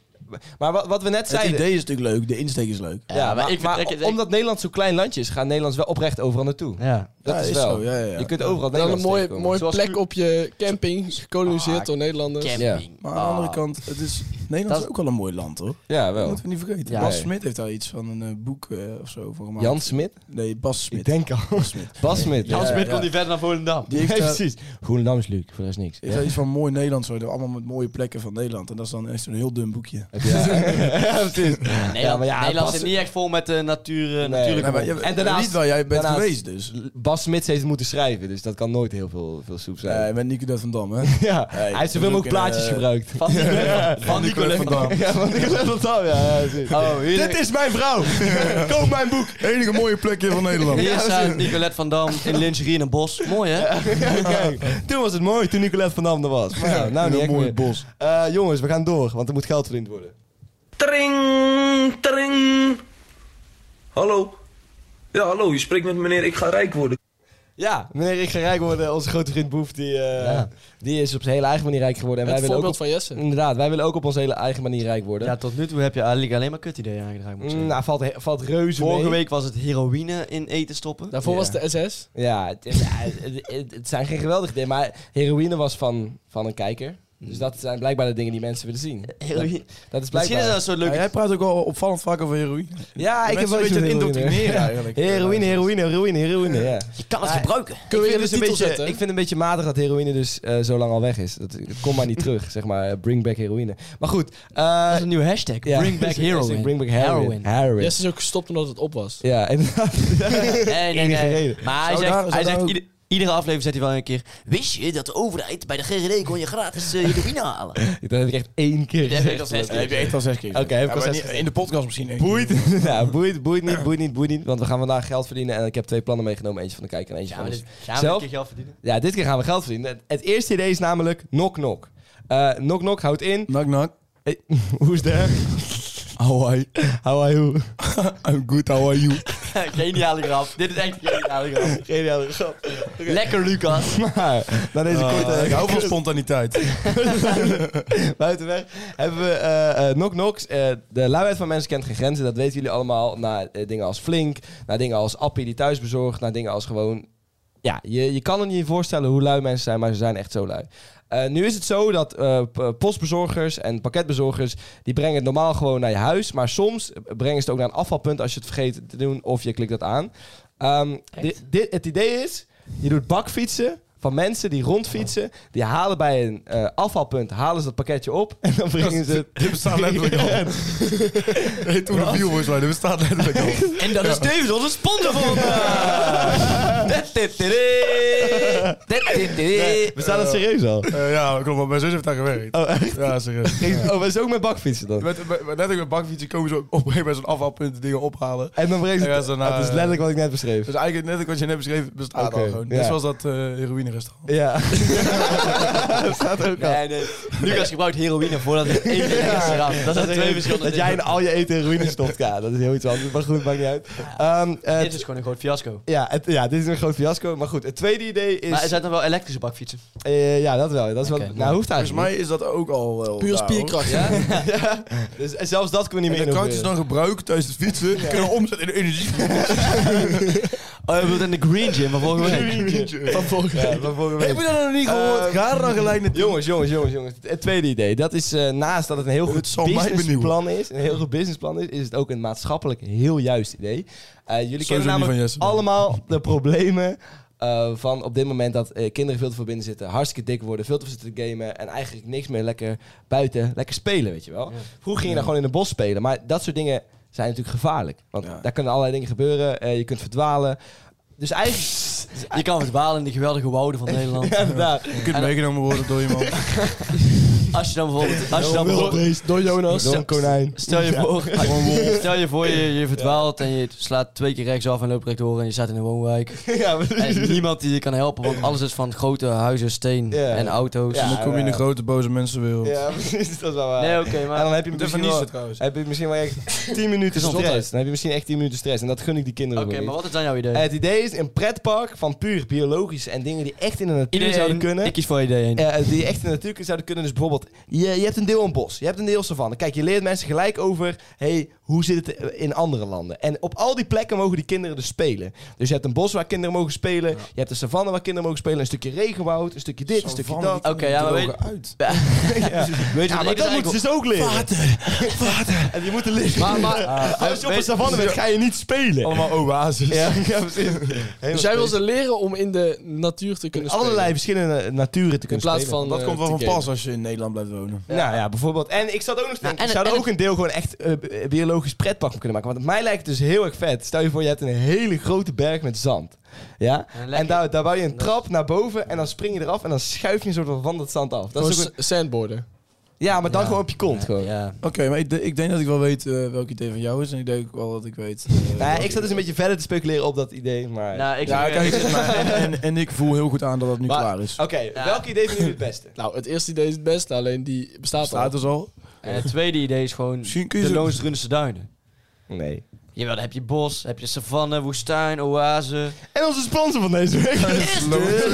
Speaker 2: Maar wat, wat we net zeiden...
Speaker 5: is natuurlijk leuk, de insteek is leuk.
Speaker 4: Ja, maar ik vertrek het echt-
Speaker 2: omdat Nederland zo'n klein landje is, gaat Nederlands wel oprecht overal naartoe.
Speaker 4: Ja.
Speaker 2: Dat
Speaker 5: Ja,
Speaker 2: is,
Speaker 5: is
Speaker 2: wel.
Speaker 5: zo, ja, ja, ja.
Speaker 2: Je kunt overal
Speaker 3: Dan een
Speaker 2: Nederlands
Speaker 3: mooie,
Speaker 2: tegenkomen.
Speaker 3: mooie
Speaker 4: Zoals
Speaker 3: plek
Speaker 4: Cu-
Speaker 3: op je camping, gekoloniseerd
Speaker 4: Ah,
Speaker 3: door Nederlanders.
Speaker 4: Camping.
Speaker 5: Maar aan de andere
Speaker 4: Ah.
Speaker 5: kant, het is, Nederland
Speaker 4: Dat-
Speaker 5: is ook wel een mooi land, hoor.
Speaker 2: Ja,
Speaker 5: Dat
Speaker 2: wel.
Speaker 5: moeten we niet vergeten.
Speaker 4: Ja,
Speaker 5: Bas
Speaker 2: nee.
Speaker 5: Smit heeft daar iets van een eh, boek eh, of zo voor gemaakt.
Speaker 2: Jan Smit?
Speaker 5: Nee, Bas Smit.
Speaker 2: Ik denk al.
Speaker 5: Bas Smit.
Speaker 2: Bas Smit.
Speaker 4: Jan
Speaker 5: Ja,
Speaker 4: Smit
Speaker 5: ja.
Speaker 4: komt niet verder naar Volendam.
Speaker 5: Die heeft,
Speaker 2: Nee,
Speaker 5: daar-
Speaker 2: precies. Groenendam is Luc, voor de rest niks.
Speaker 5: heeft daar iets van mooi Nederland, zo, allemaal met mooie plekken van Nederland. En dat is dan echt zo'n heel dun boekje.
Speaker 2: Heb je- Ja, precies. Ja,
Speaker 4: Nederland,
Speaker 2: maar ja,
Speaker 4: Nederland
Speaker 2: Bas-
Speaker 4: zit niet echt vol met eh, natuur, eh,
Speaker 2: Nee,
Speaker 4: natuurlijke
Speaker 2: maar
Speaker 4: bommen.
Speaker 2: je- En daarnaast-
Speaker 5: niet waar jij bent
Speaker 2: daarnaast-
Speaker 5: geweest, dus.
Speaker 2: Bas Smits heeft het moeten schrijven, dus dat kan nooit heel veel, veel soep zijn.
Speaker 5: Nee, met Nico dat van Dam, hè?
Speaker 2: ja,
Speaker 5: nee,
Speaker 2: hij heeft zoveel
Speaker 5: dat is
Speaker 2: mogelijk
Speaker 5: ook een,
Speaker 2: plaatjes
Speaker 5: eh,
Speaker 2: gebruikt.
Speaker 4: Van die van die
Speaker 5: Nicolette
Speaker 4: collega-
Speaker 5: Dam.
Speaker 2: Ja, want ik let op ja.
Speaker 4: Oh, hier,
Speaker 2: Dit is mijn vrouw! Koop mijn boek!
Speaker 5: Enige mooie plekje van Nederland.
Speaker 4: hier zijn Nicolette van Dam in lingerie in een bos. Mooi, hè?
Speaker 2: Kijk, toen was het mooi, toen Nicolette van Dam er was. Maar ja, nou
Speaker 5: In
Speaker 2: niet
Speaker 5: een
Speaker 2: echt
Speaker 5: mooi
Speaker 2: meer.
Speaker 5: bos.
Speaker 2: Eh, jongens, we gaan door, want er moet geld verdiend worden.
Speaker 6: Tring, tring. Hallo. Ja, hallo, je spreekt met meneer Ik ga rijk worden.
Speaker 2: Ja, meneer Ik ga rijk worden. Onze grote vriend Boef, die, eh,
Speaker 4: Ja.
Speaker 2: die is op zijn hele eigen manier rijk geworden. En
Speaker 3: Het
Speaker 2: wij willen
Speaker 3: voorbeeld
Speaker 2: ook
Speaker 3: van Jesse.
Speaker 2: op, inderdaad, wij willen ook op onze hele eigen manier rijk worden.
Speaker 4: Ja, tot nu toe heb je eigenlijk alleen maar kutideeën aangedragen, moet ik
Speaker 2: Mm,
Speaker 4: zeggen.
Speaker 2: nou, valt, he- valt reuze
Speaker 4: Vorige
Speaker 2: mee.
Speaker 4: week was het heroïne in eten stoppen.
Speaker 3: Daarvoor
Speaker 2: Ja.
Speaker 3: was de SS.
Speaker 2: Ja, het, is- ja, het, het- het zijn geen geweldige dingen, maar heroïne was van, van een kijker. Dus dat zijn blijkbaar de dingen die mensen willen zien.
Speaker 4: Heroïne.
Speaker 2: Dat is
Speaker 4: Misschien
Speaker 2: blijkbaar...
Speaker 4: is dat een soort
Speaker 5: Ja,
Speaker 4: leuke...
Speaker 5: jij praat ook wel opvallend vaak over heroïne.
Speaker 2: ja, ik heb wel
Speaker 5: een
Speaker 2: iets
Speaker 5: beetje
Speaker 2: met
Speaker 5: aan het
Speaker 2: heroïne.
Speaker 5: indoctrineren eigenlijk.
Speaker 2: Heroïne, heroïne, heroïne, heroïne, ja.
Speaker 4: Je kan het gebruiken.
Speaker 2: Kunnen we
Speaker 3: vind
Speaker 2: dus
Speaker 3: de
Speaker 2: een
Speaker 3: titel
Speaker 2: beetje,
Speaker 3: zetten.
Speaker 2: ik vind dus- het een beetje matig dat heroïne dus eh, zo lang al weg is. Dat, het komt maar niet terug, zeg maar. eh, Bring back heroïne. Maar goed. eh,
Speaker 4: Dat is een nieuwe hashtag.
Speaker 2: ja.
Speaker 4: Bring back heroin.
Speaker 2: Bring back heroin. Heroin.
Speaker 3: Jesse is ook gestopt omdat het op was.
Speaker 2: Ja, inderdaad.
Speaker 4: Nee, nee,
Speaker 2: Enige
Speaker 4: nee.
Speaker 2: reden.
Speaker 4: Maar hij
Speaker 5: Zou daar-
Speaker 4: zegt,
Speaker 5: zou
Speaker 4: hij
Speaker 5: daar
Speaker 4: zegt
Speaker 5: ook-
Speaker 4: ieder- iedere aflevering zegt hij wel een keer... Wist je dat de overheid bij de GGD kon je gratis eh, heroïne halen?
Speaker 2: Dat heb ik echt één keer
Speaker 4: Dat heb
Speaker 2: gezegd.
Speaker 4: ik als
Speaker 5: Dat heb
Speaker 4: hashtag.
Speaker 5: je echt al zes keer. gezegd.
Speaker 2: Oké, heb ik
Speaker 5: Ja,
Speaker 2: al
Speaker 5: maar
Speaker 2: zes
Speaker 5: niet- In de podcast misschien. één keer.
Speaker 2: Boeit. Ja, boeit, boeit niet, boeit niet, boeit niet. Want we gaan vandaag geld verdienen. En ik heb twee plannen meegenomen. Eentje van de kijker en eentje
Speaker 4: Ja, maar
Speaker 2: van
Speaker 4: dit,
Speaker 2: ons.
Speaker 4: gaan we
Speaker 2: Zelf?
Speaker 4: een keer geld verdienen?
Speaker 2: Ja, dit keer gaan we geld verdienen. Het, het eerste idee is namelijk Knock Knock. Eh, knock Knock houdt in... Eh,
Speaker 5: Knock, knock.
Speaker 2: Who's there?
Speaker 5: How are you?
Speaker 2: How are you?
Speaker 5: I'm good, how are you?
Speaker 4: geniale grap. Dit is echt geniale grap.
Speaker 2: Geniale grap.
Speaker 4: Lekker, Lucas.
Speaker 2: Maar, na deze korte...
Speaker 5: Ah. ik hou van spontaniteit.
Speaker 2: Buitenweg hebben we eh eh Knock Knocks. Eh, de luiheid van mensen kent geen grenzen. Dat weten jullie allemaal. Na eh, dingen als Flink, na dingen als Appie die thuis bezorgt, na dingen als gewoon... Ja, je, je kan het niet voorstellen hoe lui mensen zijn, maar ze zijn echt zo lui. Eh, nu is het zo dat eh, p- postbezorgers en pakketbezorgers... die brengen het normaal gewoon naar je huis. Maar soms brengen ze het ook naar een afvalpunt als je het vergeet te doen of je klikt dat aan. Ehm, di- dit, het idee is, je doet bakfietsen van mensen die rondfietsen. Die halen bij een eh, afvalpunt, halen ze dat pakketje op en dan brengen ze het...
Speaker 5: Dit bestaat letterlijk al. Hey, toen de viewers waren, dit bestaat letterlijk al.
Speaker 4: En dat is tevens onze sponsor van vandaag. Dit, dit, dit, dit. Dit, dit, dit, dit.
Speaker 2: We staan dat serieus al.
Speaker 5: Eh, ja, klopt, maar mijn zus heeft daar gewerkt.
Speaker 2: Oh, echt?
Speaker 5: Ja, serieus.
Speaker 2: Oh, maar is ook met bakfietsen dan?
Speaker 5: Met, met, met, net als met bakfietsen komen ze op een gegeven moment zo'n afvalpunt de dingen ophalen.
Speaker 2: En dan brengen ze
Speaker 5: Ja,
Speaker 2: het...
Speaker 5: ze
Speaker 2: Dat
Speaker 5: naar-
Speaker 2: is letterlijk wat ik net beschreef.
Speaker 5: Dus eigenlijk net als wat je net beschreef, bestaat
Speaker 2: Oké,
Speaker 5: al gewoon.
Speaker 2: ja.
Speaker 5: Net zoals dat eh heroïne restaurant.
Speaker 2: Ja. dat staat ook al.
Speaker 4: Nee, nee. Lucas gebruikt heroïne voordat hij één keer is geraakt. Dat zijn twee verschillende
Speaker 2: Dat jij in
Speaker 4: dingen.
Speaker 2: al je eten ruïne stopt, ja, dat is heel iets anders. Maar goed, maakt niet uit. Ehm, eh,
Speaker 4: Dit is gewoon een groot fiasco.
Speaker 2: ja, het, ja, dit is een groot fiasco. Maar goed, het tweede idee is...
Speaker 4: Maar er zijn dan wel elektrische bakfietsen.
Speaker 2: eh, ja, dat wel. Dat is wel
Speaker 4: Oké.
Speaker 2: nou, hoeft
Speaker 5: Volgens
Speaker 2: eigenlijk
Speaker 5: mij is dat ook al wel
Speaker 3: Puur
Speaker 5: daar, hoor.
Speaker 3: spierkracht. Ja?
Speaker 2: niet. Dus, en zelfs dat kunnen we
Speaker 5: En
Speaker 2: niet meer
Speaker 5: de kracht is
Speaker 2: innoveren.
Speaker 5: dan gebruikt tijdens het fietsen. Kunnen we omzetten in energie.
Speaker 4: Oh, je bedoelt in de Green Gym van vorige week.
Speaker 5: Van volgende
Speaker 2: Ja, maar vorige week.
Speaker 5: Heb je dat nog niet gehoord?
Speaker 2: Eh,
Speaker 5: Ga er dan gelijk naartoe.
Speaker 2: Jongens, jongens, jongens, jongens. Het tweede idee. Dat is eh, naast dat het een heel
Speaker 5: Het
Speaker 2: goed
Speaker 5: zal mij
Speaker 2: businessplan is, een heel goed businessplan is, is het ook een maatschappelijk heel juist idee. Eh, jullie
Speaker 5: Sowieso
Speaker 2: kennen
Speaker 5: niet van
Speaker 2: namelijk
Speaker 5: Jesse.
Speaker 2: allemaal de problemen eh, van op dit moment dat eh, kinderen veel te veel binnen zitten, hartstikke dik worden, veel te veel zitten te gamen en eigenlijk niks meer lekker buiten, lekker spelen, weet je wel. Vroeger ging je dan gewoon in het bos spelen, maar dat soort dingen zijn natuurlijk gevaarlijk. Want
Speaker 5: Ja.
Speaker 2: daar kunnen allerlei dingen gebeuren, eh, je kunt verdwalen. Dus eigenlijk...
Speaker 4: Je kan verdwalen in de geweldige wouden van Nederland.
Speaker 2: Ja, inderdaad.
Speaker 5: Je kunt meegenomen worden door iemand.
Speaker 4: Als je dan bijvoorbeeld... Als je dan bijvoorbeeld
Speaker 2: Door Jonas. Door een konijn.
Speaker 4: Stel je voor, stel je, voor je, je verdwaalt en je slaat twee keer rechtsaf en loopt rechtdoor en je staat in een woonwijk.
Speaker 2: Ja, precies.
Speaker 4: En niemand die je kan helpen, want alles is van grote huizen, steen
Speaker 2: Ja.
Speaker 4: en auto's.
Speaker 2: Ja.
Speaker 5: Dan kom je in de grote boze mensenwereld.
Speaker 2: Ja, precies. Dat is wel waar.
Speaker 4: Nee, oké,
Speaker 2: en dan
Speaker 4: maar...
Speaker 2: heb je, misschien
Speaker 5: niet
Speaker 2: wel,
Speaker 5: trouwens.
Speaker 2: heb je misschien wel echt 10 minuten
Speaker 4: Gezondheid.
Speaker 2: stress. Dan heb je misschien echt 10 minuten stress. En dat gun ik die kinderen
Speaker 4: Oké,
Speaker 2: ook
Speaker 4: maar wat is dan jouw idee?
Speaker 2: Het idee is een pretpark van puur biologische en dingen die echt in de natuur zouden kunnen.
Speaker 4: Ik kies voor idee 1.
Speaker 2: eh, die echt in de natuur zouden kunnen. Dus bijvoorbeeld bijvoorbeeld, je, je hebt een deel een bos, je hebt een deel savanne. Kijk, je leert mensen gelijk over, hey, hoe zit het eh, in andere landen? En op al die plekken mogen die kinderen dus spelen. Dus je hebt een bos waar kinderen mogen spelen, je hebt een savanne waar kinderen mogen spelen, een stukje regenwoud, een stukje dit, een stukje
Speaker 5: Savanne,
Speaker 2: dat.
Speaker 4: Oké,
Speaker 5: die
Speaker 4: ja, maar
Speaker 5: drogen
Speaker 4: weet-
Speaker 5: uit.
Speaker 2: Ja,
Speaker 4: Weet
Speaker 2: Ja, maar dat moeten ze dus ook leren. En die moeten leren.
Speaker 4: Maar, maar,
Speaker 2: Als je op een savanne bent, ga je niet spelen.
Speaker 5: Allemaal oases.
Speaker 2: Oh, Ja, ja, precies. Helemaal
Speaker 3: Dus jij
Speaker 2: spelen.
Speaker 3: wil ze leren om in de natuur te kunnen spelen.
Speaker 2: allerlei verschillende naturen te
Speaker 3: In
Speaker 2: kunnen
Speaker 3: plaats
Speaker 2: spelen.
Speaker 3: van.
Speaker 5: Dat
Speaker 3: eh,
Speaker 5: komt wel
Speaker 3: te
Speaker 5: van
Speaker 3: gamen.
Speaker 5: pas als je in Nederland blijft wonen.
Speaker 2: Nou ja, bijvoorbeeld. En ik zat ook nog te denken,
Speaker 4: en-
Speaker 2: ik zou er
Speaker 4: en-
Speaker 2: ook een deel gewoon echt eh, bi- biologisch pretpark van kunnen maken. Want mij lijkt het dus heel erg vet. Stel je voor, je hebt een hele grote berg met zand. Ja?
Speaker 4: En dan
Speaker 2: En,
Speaker 4: leg je-
Speaker 2: daar, daar bouw je een trap naar boven en dan spring je eraf en dan schuif je een soort van van dat zand af. Dat
Speaker 3: Gewoon
Speaker 2: is ook een-
Speaker 3: sa- sandboarden.
Speaker 2: ja, maar dan gewoon op je kont gewoon.
Speaker 4: Ja.
Speaker 5: Oké, maar ik, de- ik denk dat ik wel weet eh, welk idee van jou is. En ik denk ook wel dat ik weet... eh,
Speaker 2: Nou ja,
Speaker 5: welk
Speaker 2: ik zat dus een beetje verder te speculeren op dat idee, maar...
Speaker 4: Nou, ik
Speaker 5: Ja, kijk, maar- en, en, en ik voel heel goed aan dat dat nu
Speaker 2: Maar- Oh,
Speaker 5: klaar is.
Speaker 2: Oké, welk idee vind je het beste?
Speaker 3: Nou, het eerste idee is het beste, alleen die bestaat al.
Speaker 5: Staat dus al.
Speaker 4: En het tweede idee is gewoon
Speaker 5: Misschien kun je
Speaker 4: de
Speaker 5: zo-
Speaker 4: Loonsrunse duinen.
Speaker 2: Nee.
Speaker 4: Jawel, dan heb je bos, heb je savanne, woestijn, oase.
Speaker 2: En onze sponsor van deze week is de
Speaker 4: Loosdrunense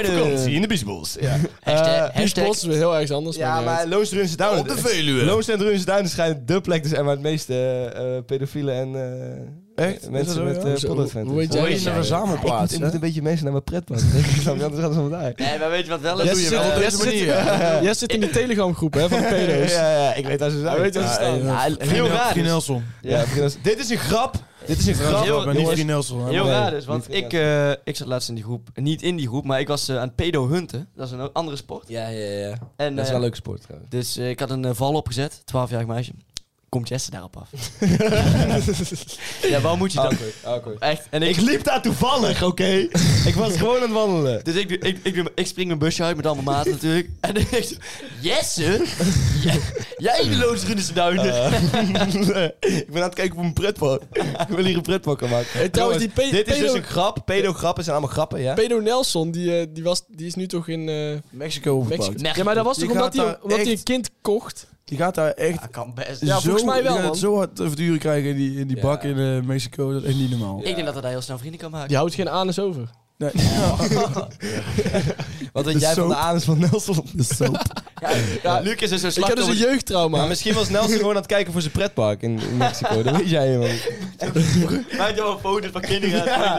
Speaker 4: Duinen.
Speaker 2: Op vakantie in de biesbos. Ja,
Speaker 4: Hashtag,
Speaker 3: Die
Speaker 4: hashtag
Speaker 3: is weer heel erg anders.
Speaker 2: ja
Speaker 3: niet uit.
Speaker 2: maar Loons Runse Duinen.
Speaker 5: Op de Veluwe.
Speaker 2: Loons en Runse Duinen schijnt de plek te zijn waar het meeste eh, eh, pedofielen en eh,
Speaker 5: Echt? Is dat
Speaker 2: mensen
Speaker 5: zo,
Speaker 2: met
Speaker 5: ja?
Speaker 2: eh
Speaker 3: Hoe-
Speaker 2: pollenfans.
Speaker 3: hoe weet jij
Speaker 5: Hoe is
Speaker 3: dat?
Speaker 5: een
Speaker 2: Ik
Speaker 5: verzamelplaats,
Speaker 2: moet,
Speaker 5: hè?
Speaker 2: een beetje mensen naar mijn pretpark. Anders gaan ze vandaag.
Speaker 4: Nee, maar weet je wat wel
Speaker 5: Dat
Speaker 4: is?
Speaker 5: doe je
Speaker 3: zit-
Speaker 5: wel op
Speaker 3: jij
Speaker 5: deze manier. ja.
Speaker 3: Jij zit in die Telegram groep hè, van de pedo's.
Speaker 2: Ja, ja, ik weet waar ze zijn.
Speaker 3: Hij weet waar ze staan.
Speaker 4: Ja,
Speaker 5: Geen-
Speaker 4: heel raar
Speaker 5: Geen
Speaker 4: is-
Speaker 5: Nelson.
Speaker 2: Ja, begin- dit is een grap. Dit is een grap.
Speaker 4: heel-
Speaker 5: Ik ben niet
Speaker 4: jongens,
Speaker 5: geen Nelson. hè.
Speaker 4: Heel
Speaker 2: Nee,
Speaker 4: raar dus, want
Speaker 2: niet
Speaker 4: ik, eh, ik zat laatst in die groep. Niet in die groep, maar ik was eh, aan het pedo hunten. Dat is een o- andere sport.
Speaker 2: Ja, ja, ja.
Speaker 4: En,
Speaker 2: Dat is wel
Speaker 4: eh,
Speaker 2: een leuke sport trouwens.
Speaker 4: Dus eh, ik had een eh, val opgezet, 12-jarig meisje. Komt Jesse daarop af? ja, waar moet je dan?
Speaker 2: Awkward, awkward.
Speaker 4: Echt. En ik,
Speaker 2: Ik liep daar Ah. toevallig, oké? ik was gewoon aan het wandelen.
Speaker 4: dus ik, doe- ik, ik, doe- ik spring mijn busje uit met allemaal maten natuurlijk. En ik denk zo, Jesse? Jij de loosrunde duinen.
Speaker 2: Eh. ik ben aan het kijken op een pretpark. ik wil hier een pretpark aan maken.
Speaker 3: Hey, trouwens, die pe-
Speaker 2: dit is dus
Speaker 3: pedo-
Speaker 2: een grap. Pedo-grappen zijn allemaal grappen, ja?
Speaker 3: Pedo Nelson, die, eh, die, was, die is nu toch in eh,
Speaker 5: Mexico
Speaker 3: Mexico.
Speaker 5: overpakt.
Speaker 3: Ja, maar dat was
Speaker 5: Die
Speaker 3: toch omdat,
Speaker 5: gaat
Speaker 3: hij,
Speaker 5: daar
Speaker 3: omdat hij
Speaker 5: echt-
Speaker 3: een kind kocht?
Speaker 5: Die gaat daar echt
Speaker 4: Dat kan best.
Speaker 3: Ja,
Speaker 5: zo,
Speaker 3: volgens mij wel,
Speaker 5: die gaat
Speaker 3: man.
Speaker 5: zo hard te verduren krijgen in die, in die
Speaker 2: Ja.
Speaker 5: bak in eh, Mexico. Dat is niet normaal.
Speaker 4: Ik denk dat dat hij heel snel vrienden kan maken.
Speaker 3: Die houdt geen anus over.
Speaker 5: Nee.
Speaker 2: Wat
Speaker 5: De
Speaker 2: weet jij van de
Speaker 5: soap.
Speaker 2: anus van Nelson?
Speaker 4: Ja, Luc is dus een
Speaker 3: Ik heb dus
Speaker 4: slachtoffer.
Speaker 3: een jeugdtrauma.
Speaker 2: Maar misschien was Nelson gewoon aan het kijken voor zijn pretpark in, in Mexico. Dat weet jij helemaal niet.
Speaker 4: Maak je wel foto's van kinderen.
Speaker 5: Ja,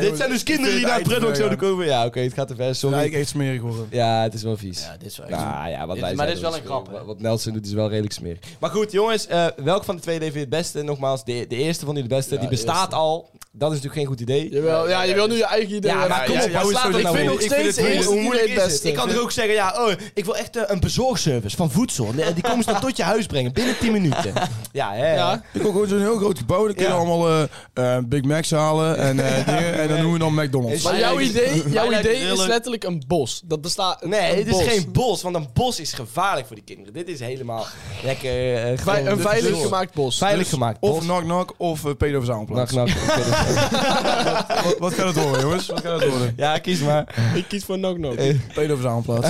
Speaker 2: Dit zijn dus kinderen die naar het pretpark zouden komen. Ja, oké, het gaat te ver,
Speaker 5: Ja, ik
Speaker 2: sorry.
Speaker 5: echt smerig worden.
Speaker 2: Ja, het is wel vies.
Speaker 4: Ja, dit is wel echt
Speaker 2: Nou ja, wat
Speaker 4: Dit-
Speaker 2: wij
Speaker 4: maar
Speaker 2: zeiden,
Speaker 4: dit is wel een
Speaker 2: dat
Speaker 4: grap,
Speaker 2: Wat,
Speaker 4: hè?
Speaker 2: wat Nelson doet is wel redelijk smerig. Maar goed, jongens, eh, welk van de twee vind je het beste? Nogmaals, de, de eerste van jullie het beste.
Speaker 3: Ja,
Speaker 2: die
Speaker 3: de
Speaker 2: bestaat
Speaker 3: eerste.
Speaker 2: al. Dat is natuurlijk geen goed idee.
Speaker 3: Jawel, ja, je wil nu je eigen idee
Speaker 2: Ja,
Speaker 3: hebben.
Speaker 2: maar kom
Speaker 3: ja,
Speaker 2: op,
Speaker 3: ja,
Speaker 2: hoe
Speaker 3: slaat
Speaker 2: slaat
Speaker 3: het
Speaker 2: het nou
Speaker 3: Ik
Speaker 2: weer?
Speaker 3: vind
Speaker 2: Ik
Speaker 3: nog steeds
Speaker 2: vind het
Speaker 3: eerst
Speaker 2: heel
Speaker 3: iedereen
Speaker 2: moeilijk
Speaker 3: het
Speaker 2: is het.
Speaker 3: beste.
Speaker 2: Ik kan er ook zeggen, ja, oh, ik wil echt eh, een bezorgservice van voedsel. Nee, Die komen ze dan tot je huis brengen, binnen 10 minuten. Ja, hè.
Speaker 3: Ja.
Speaker 5: Ik wil gewoon zo'n heel groot gebouw. Dan kunnen
Speaker 2: Ja.
Speaker 5: we allemaal eh, eh, Big Macs halen. En, eh, dingen. en dan doen we dan McDonald's.
Speaker 3: Maar
Speaker 4: Mijn
Speaker 3: jouw
Speaker 4: eigen-
Speaker 3: idee, jouw
Speaker 4: eigen
Speaker 3: idee is
Speaker 4: grillen.
Speaker 3: letterlijk een bos. Dat bestaat.
Speaker 2: Nee,
Speaker 3: een
Speaker 2: het is
Speaker 3: bos.
Speaker 2: geen bos, want een bos is gevaarlijk voor die kinderen. Dit is helemaal lekker... eh,
Speaker 3: Vei-
Speaker 2: gewoon-
Speaker 3: een
Speaker 2: dus-
Speaker 3: veilig
Speaker 2: dus-
Speaker 3: gemaakt bos.
Speaker 2: Veilig gemaakt bos.
Speaker 5: Dus Of Knock Knock of uh, Pedo Verzamelplaats.
Speaker 2: Knak, knak. Ik weet het.
Speaker 5: Wat, wat gaat het worden, jongens? Wat gaat het worden?
Speaker 2: Ja, kies maar.
Speaker 3: Ik kies voor Knock Knock.
Speaker 5: Pedo Verzamelplaats.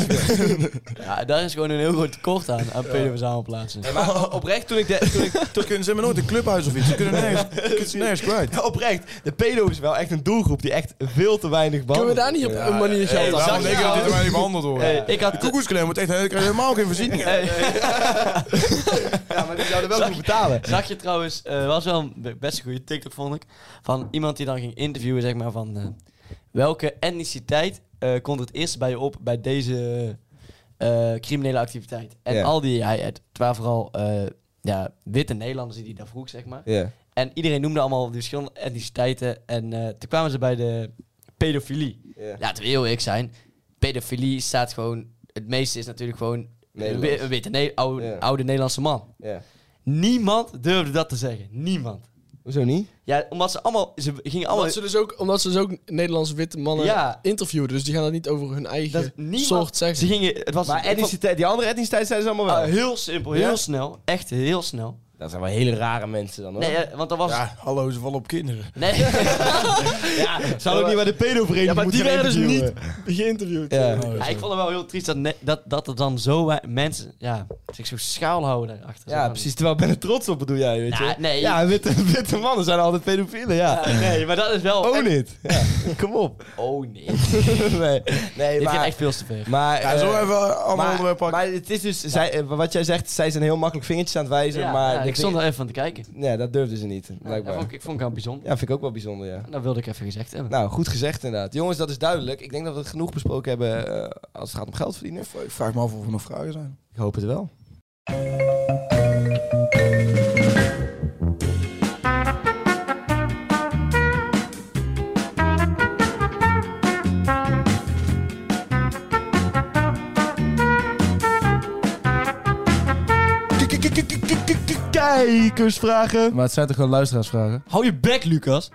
Speaker 4: Ja, daar is gewoon een heel groot tekort aan, aan pedoverzamelplaatsen.
Speaker 2: Nee, maar oprecht, toen ik, de, toen ik
Speaker 5: Toen kunnen ze maar nooit een clubhuis of iets. Ze kunnen nergens, ze kunnen nergens kwijt.
Speaker 2: Ja, oprecht, de pedo is wel echt een doelgroep die echt veel te weinig
Speaker 3: Kunnen we
Speaker 2: behandeld
Speaker 3: daar niet op een manier
Speaker 5: Hey,
Speaker 3: geld aan
Speaker 5: waarom denk je dat dit
Speaker 3: verdienen?
Speaker 5: mij niet behandeld wordt?
Speaker 4: Hey, ik had...
Speaker 5: Koekoesklem wordt echt ik krijg helemaal geen voorzieningen.
Speaker 2: wordt. Ja, maar die zouden wel goed betalen.
Speaker 4: Zag je trouwens, eh, was wel een best een goede TikTok vond ik, van iemand die dan ging interviewen, zeg maar, van eh, welke etniciteit eh komt het eerst bij je op bij deze eh, criminele activiteit? En
Speaker 2: Ja.
Speaker 4: al die, hij, het waren vooral eh, ja, witte Nederlanders die die daar vroeg, zeg maar.
Speaker 2: Ja.
Speaker 4: En iedereen noemde allemaal die verschillende etniciteiten en eh, toen kwamen ze bij de pedofilie. Laten we heel eerlijk zijn, pedofilie staat gewoon, het meeste is natuurlijk gewoon een wi-
Speaker 2: Nederlands.
Speaker 4: een witte Ne- oude,
Speaker 2: Ja.
Speaker 4: oude Nederlandse man.
Speaker 2: Ja.
Speaker 4: Niemand durfde dat te zeggen. Niemand.
Speaker 2: Hoezo niet?
Speaker 4: Ja, omdat ze allemaal... Ze gingen allemaal...
Speaker 3: Omdat ze, dus ook, omdat ze dus ook Nederlandse witte mannen
Speaker 4: Ja.
Speaker 3: interviewden. Dus die gaan dat niet over hun
Speaker 4: dat
Speaker 3: eigen
Speaker 4: niemand,
Speaker 3: soort zeggen.
Speaker 4: Ze gingen... Het was
Speaker 2: Maar etniciteit, die andere etniciteit zijn ze allemaal
Speaker 4: Ah,
Speaker 2: wel.
Speaker 4: heel simpel, heel
Speaker 2: Ja?
Speaker 4: snel. Echt heel snel.
Speaker 2: Dat zijn wel hele rare mensen dan hoor.
Speaker 4: Nee, eh, want dat was...
Speaker 5: Ja, hallo, ze vallen op kinderen.
Speaker 4: Nee. ja,
Speaker 2: Zou ook niet bij de pedovereniging
Speaker 3: Ja, maar die
Speaker 2: moeten
Speaker 3: werden dus niet
Speaker 2: interviewen.
Speaker 3: geïnterviewd.
Speaker 2: Ja.
Speaker 3: eh.
Speaker 4: ik vond het wel heel triest dat, ne- dat, dat er dan zo wij- mensen ja, zich zo schaal houden daarachter. Zo
Speaker 2: Ja,
Speaker 4: van-
Speaker 2: precies. Terwijl ik ben er trots op, bedoel jij, weet je.
Speaker 4: Nou, nee.
Speaker 2: Ja, witte, witte mannen zijn altijd pedofielen, ja.
Speaker 4: Ja, nee, maar dat is wel...
Speaker 2: Own it. Ja. Kom op.
Speaker 4: Oh nee.
Speaker 2: Oh, nee, nee
Speaker 4: Dit
Speaker 2: maar...
Speaker 4: vind ik echt veel te ver.
Speaker 2: maar
Speaker 5: Ja, zo
Speaker 2: eh,
Speaker 5: even een ander
Speaker 2: maar,
Speaker 5: onderwerp pakken.
Speaker 2: maar het is dus, zij, eh, wat jij zegt, zij zijn heel makkelijk vingertjes aan het wijzen,
Speaker 4: Ja,
Speaker 2: maar...
Speaker 4: ja,
Speaker 2: de
Speaker 4: ik
Speaker 2: ving-
Speaker 4: stond er even van te kijken.
Speaker 2: Nee, dat durfden ze niet,
Speaker 4: Ja, dat
Speaker 2: blijkbaar.
Speaker 4: vond ik, ik vond het wel bijzonder.
Speaker 2: Ja, vind ik ook wel bijzonder, ja.
Speaker 4: Dat wilde ik even gezegd hebben.
Speaker 2: Nou, goed gezegd inderdaad. Jongens, dat is duidelijk. Ik denk dat we het genoeg besproken hebben eh, als het gaat om geld verdienen.
Speaker 5: Of, Ik vraag me af of er nog vragen zijn.
Speaker 2: Ik hoop het wel. Kijkersvragen.
Speaker 5: Maar het zijn toch gewoon luisteraarsvragen?
Speaker 4: Hou je bek, Lucas.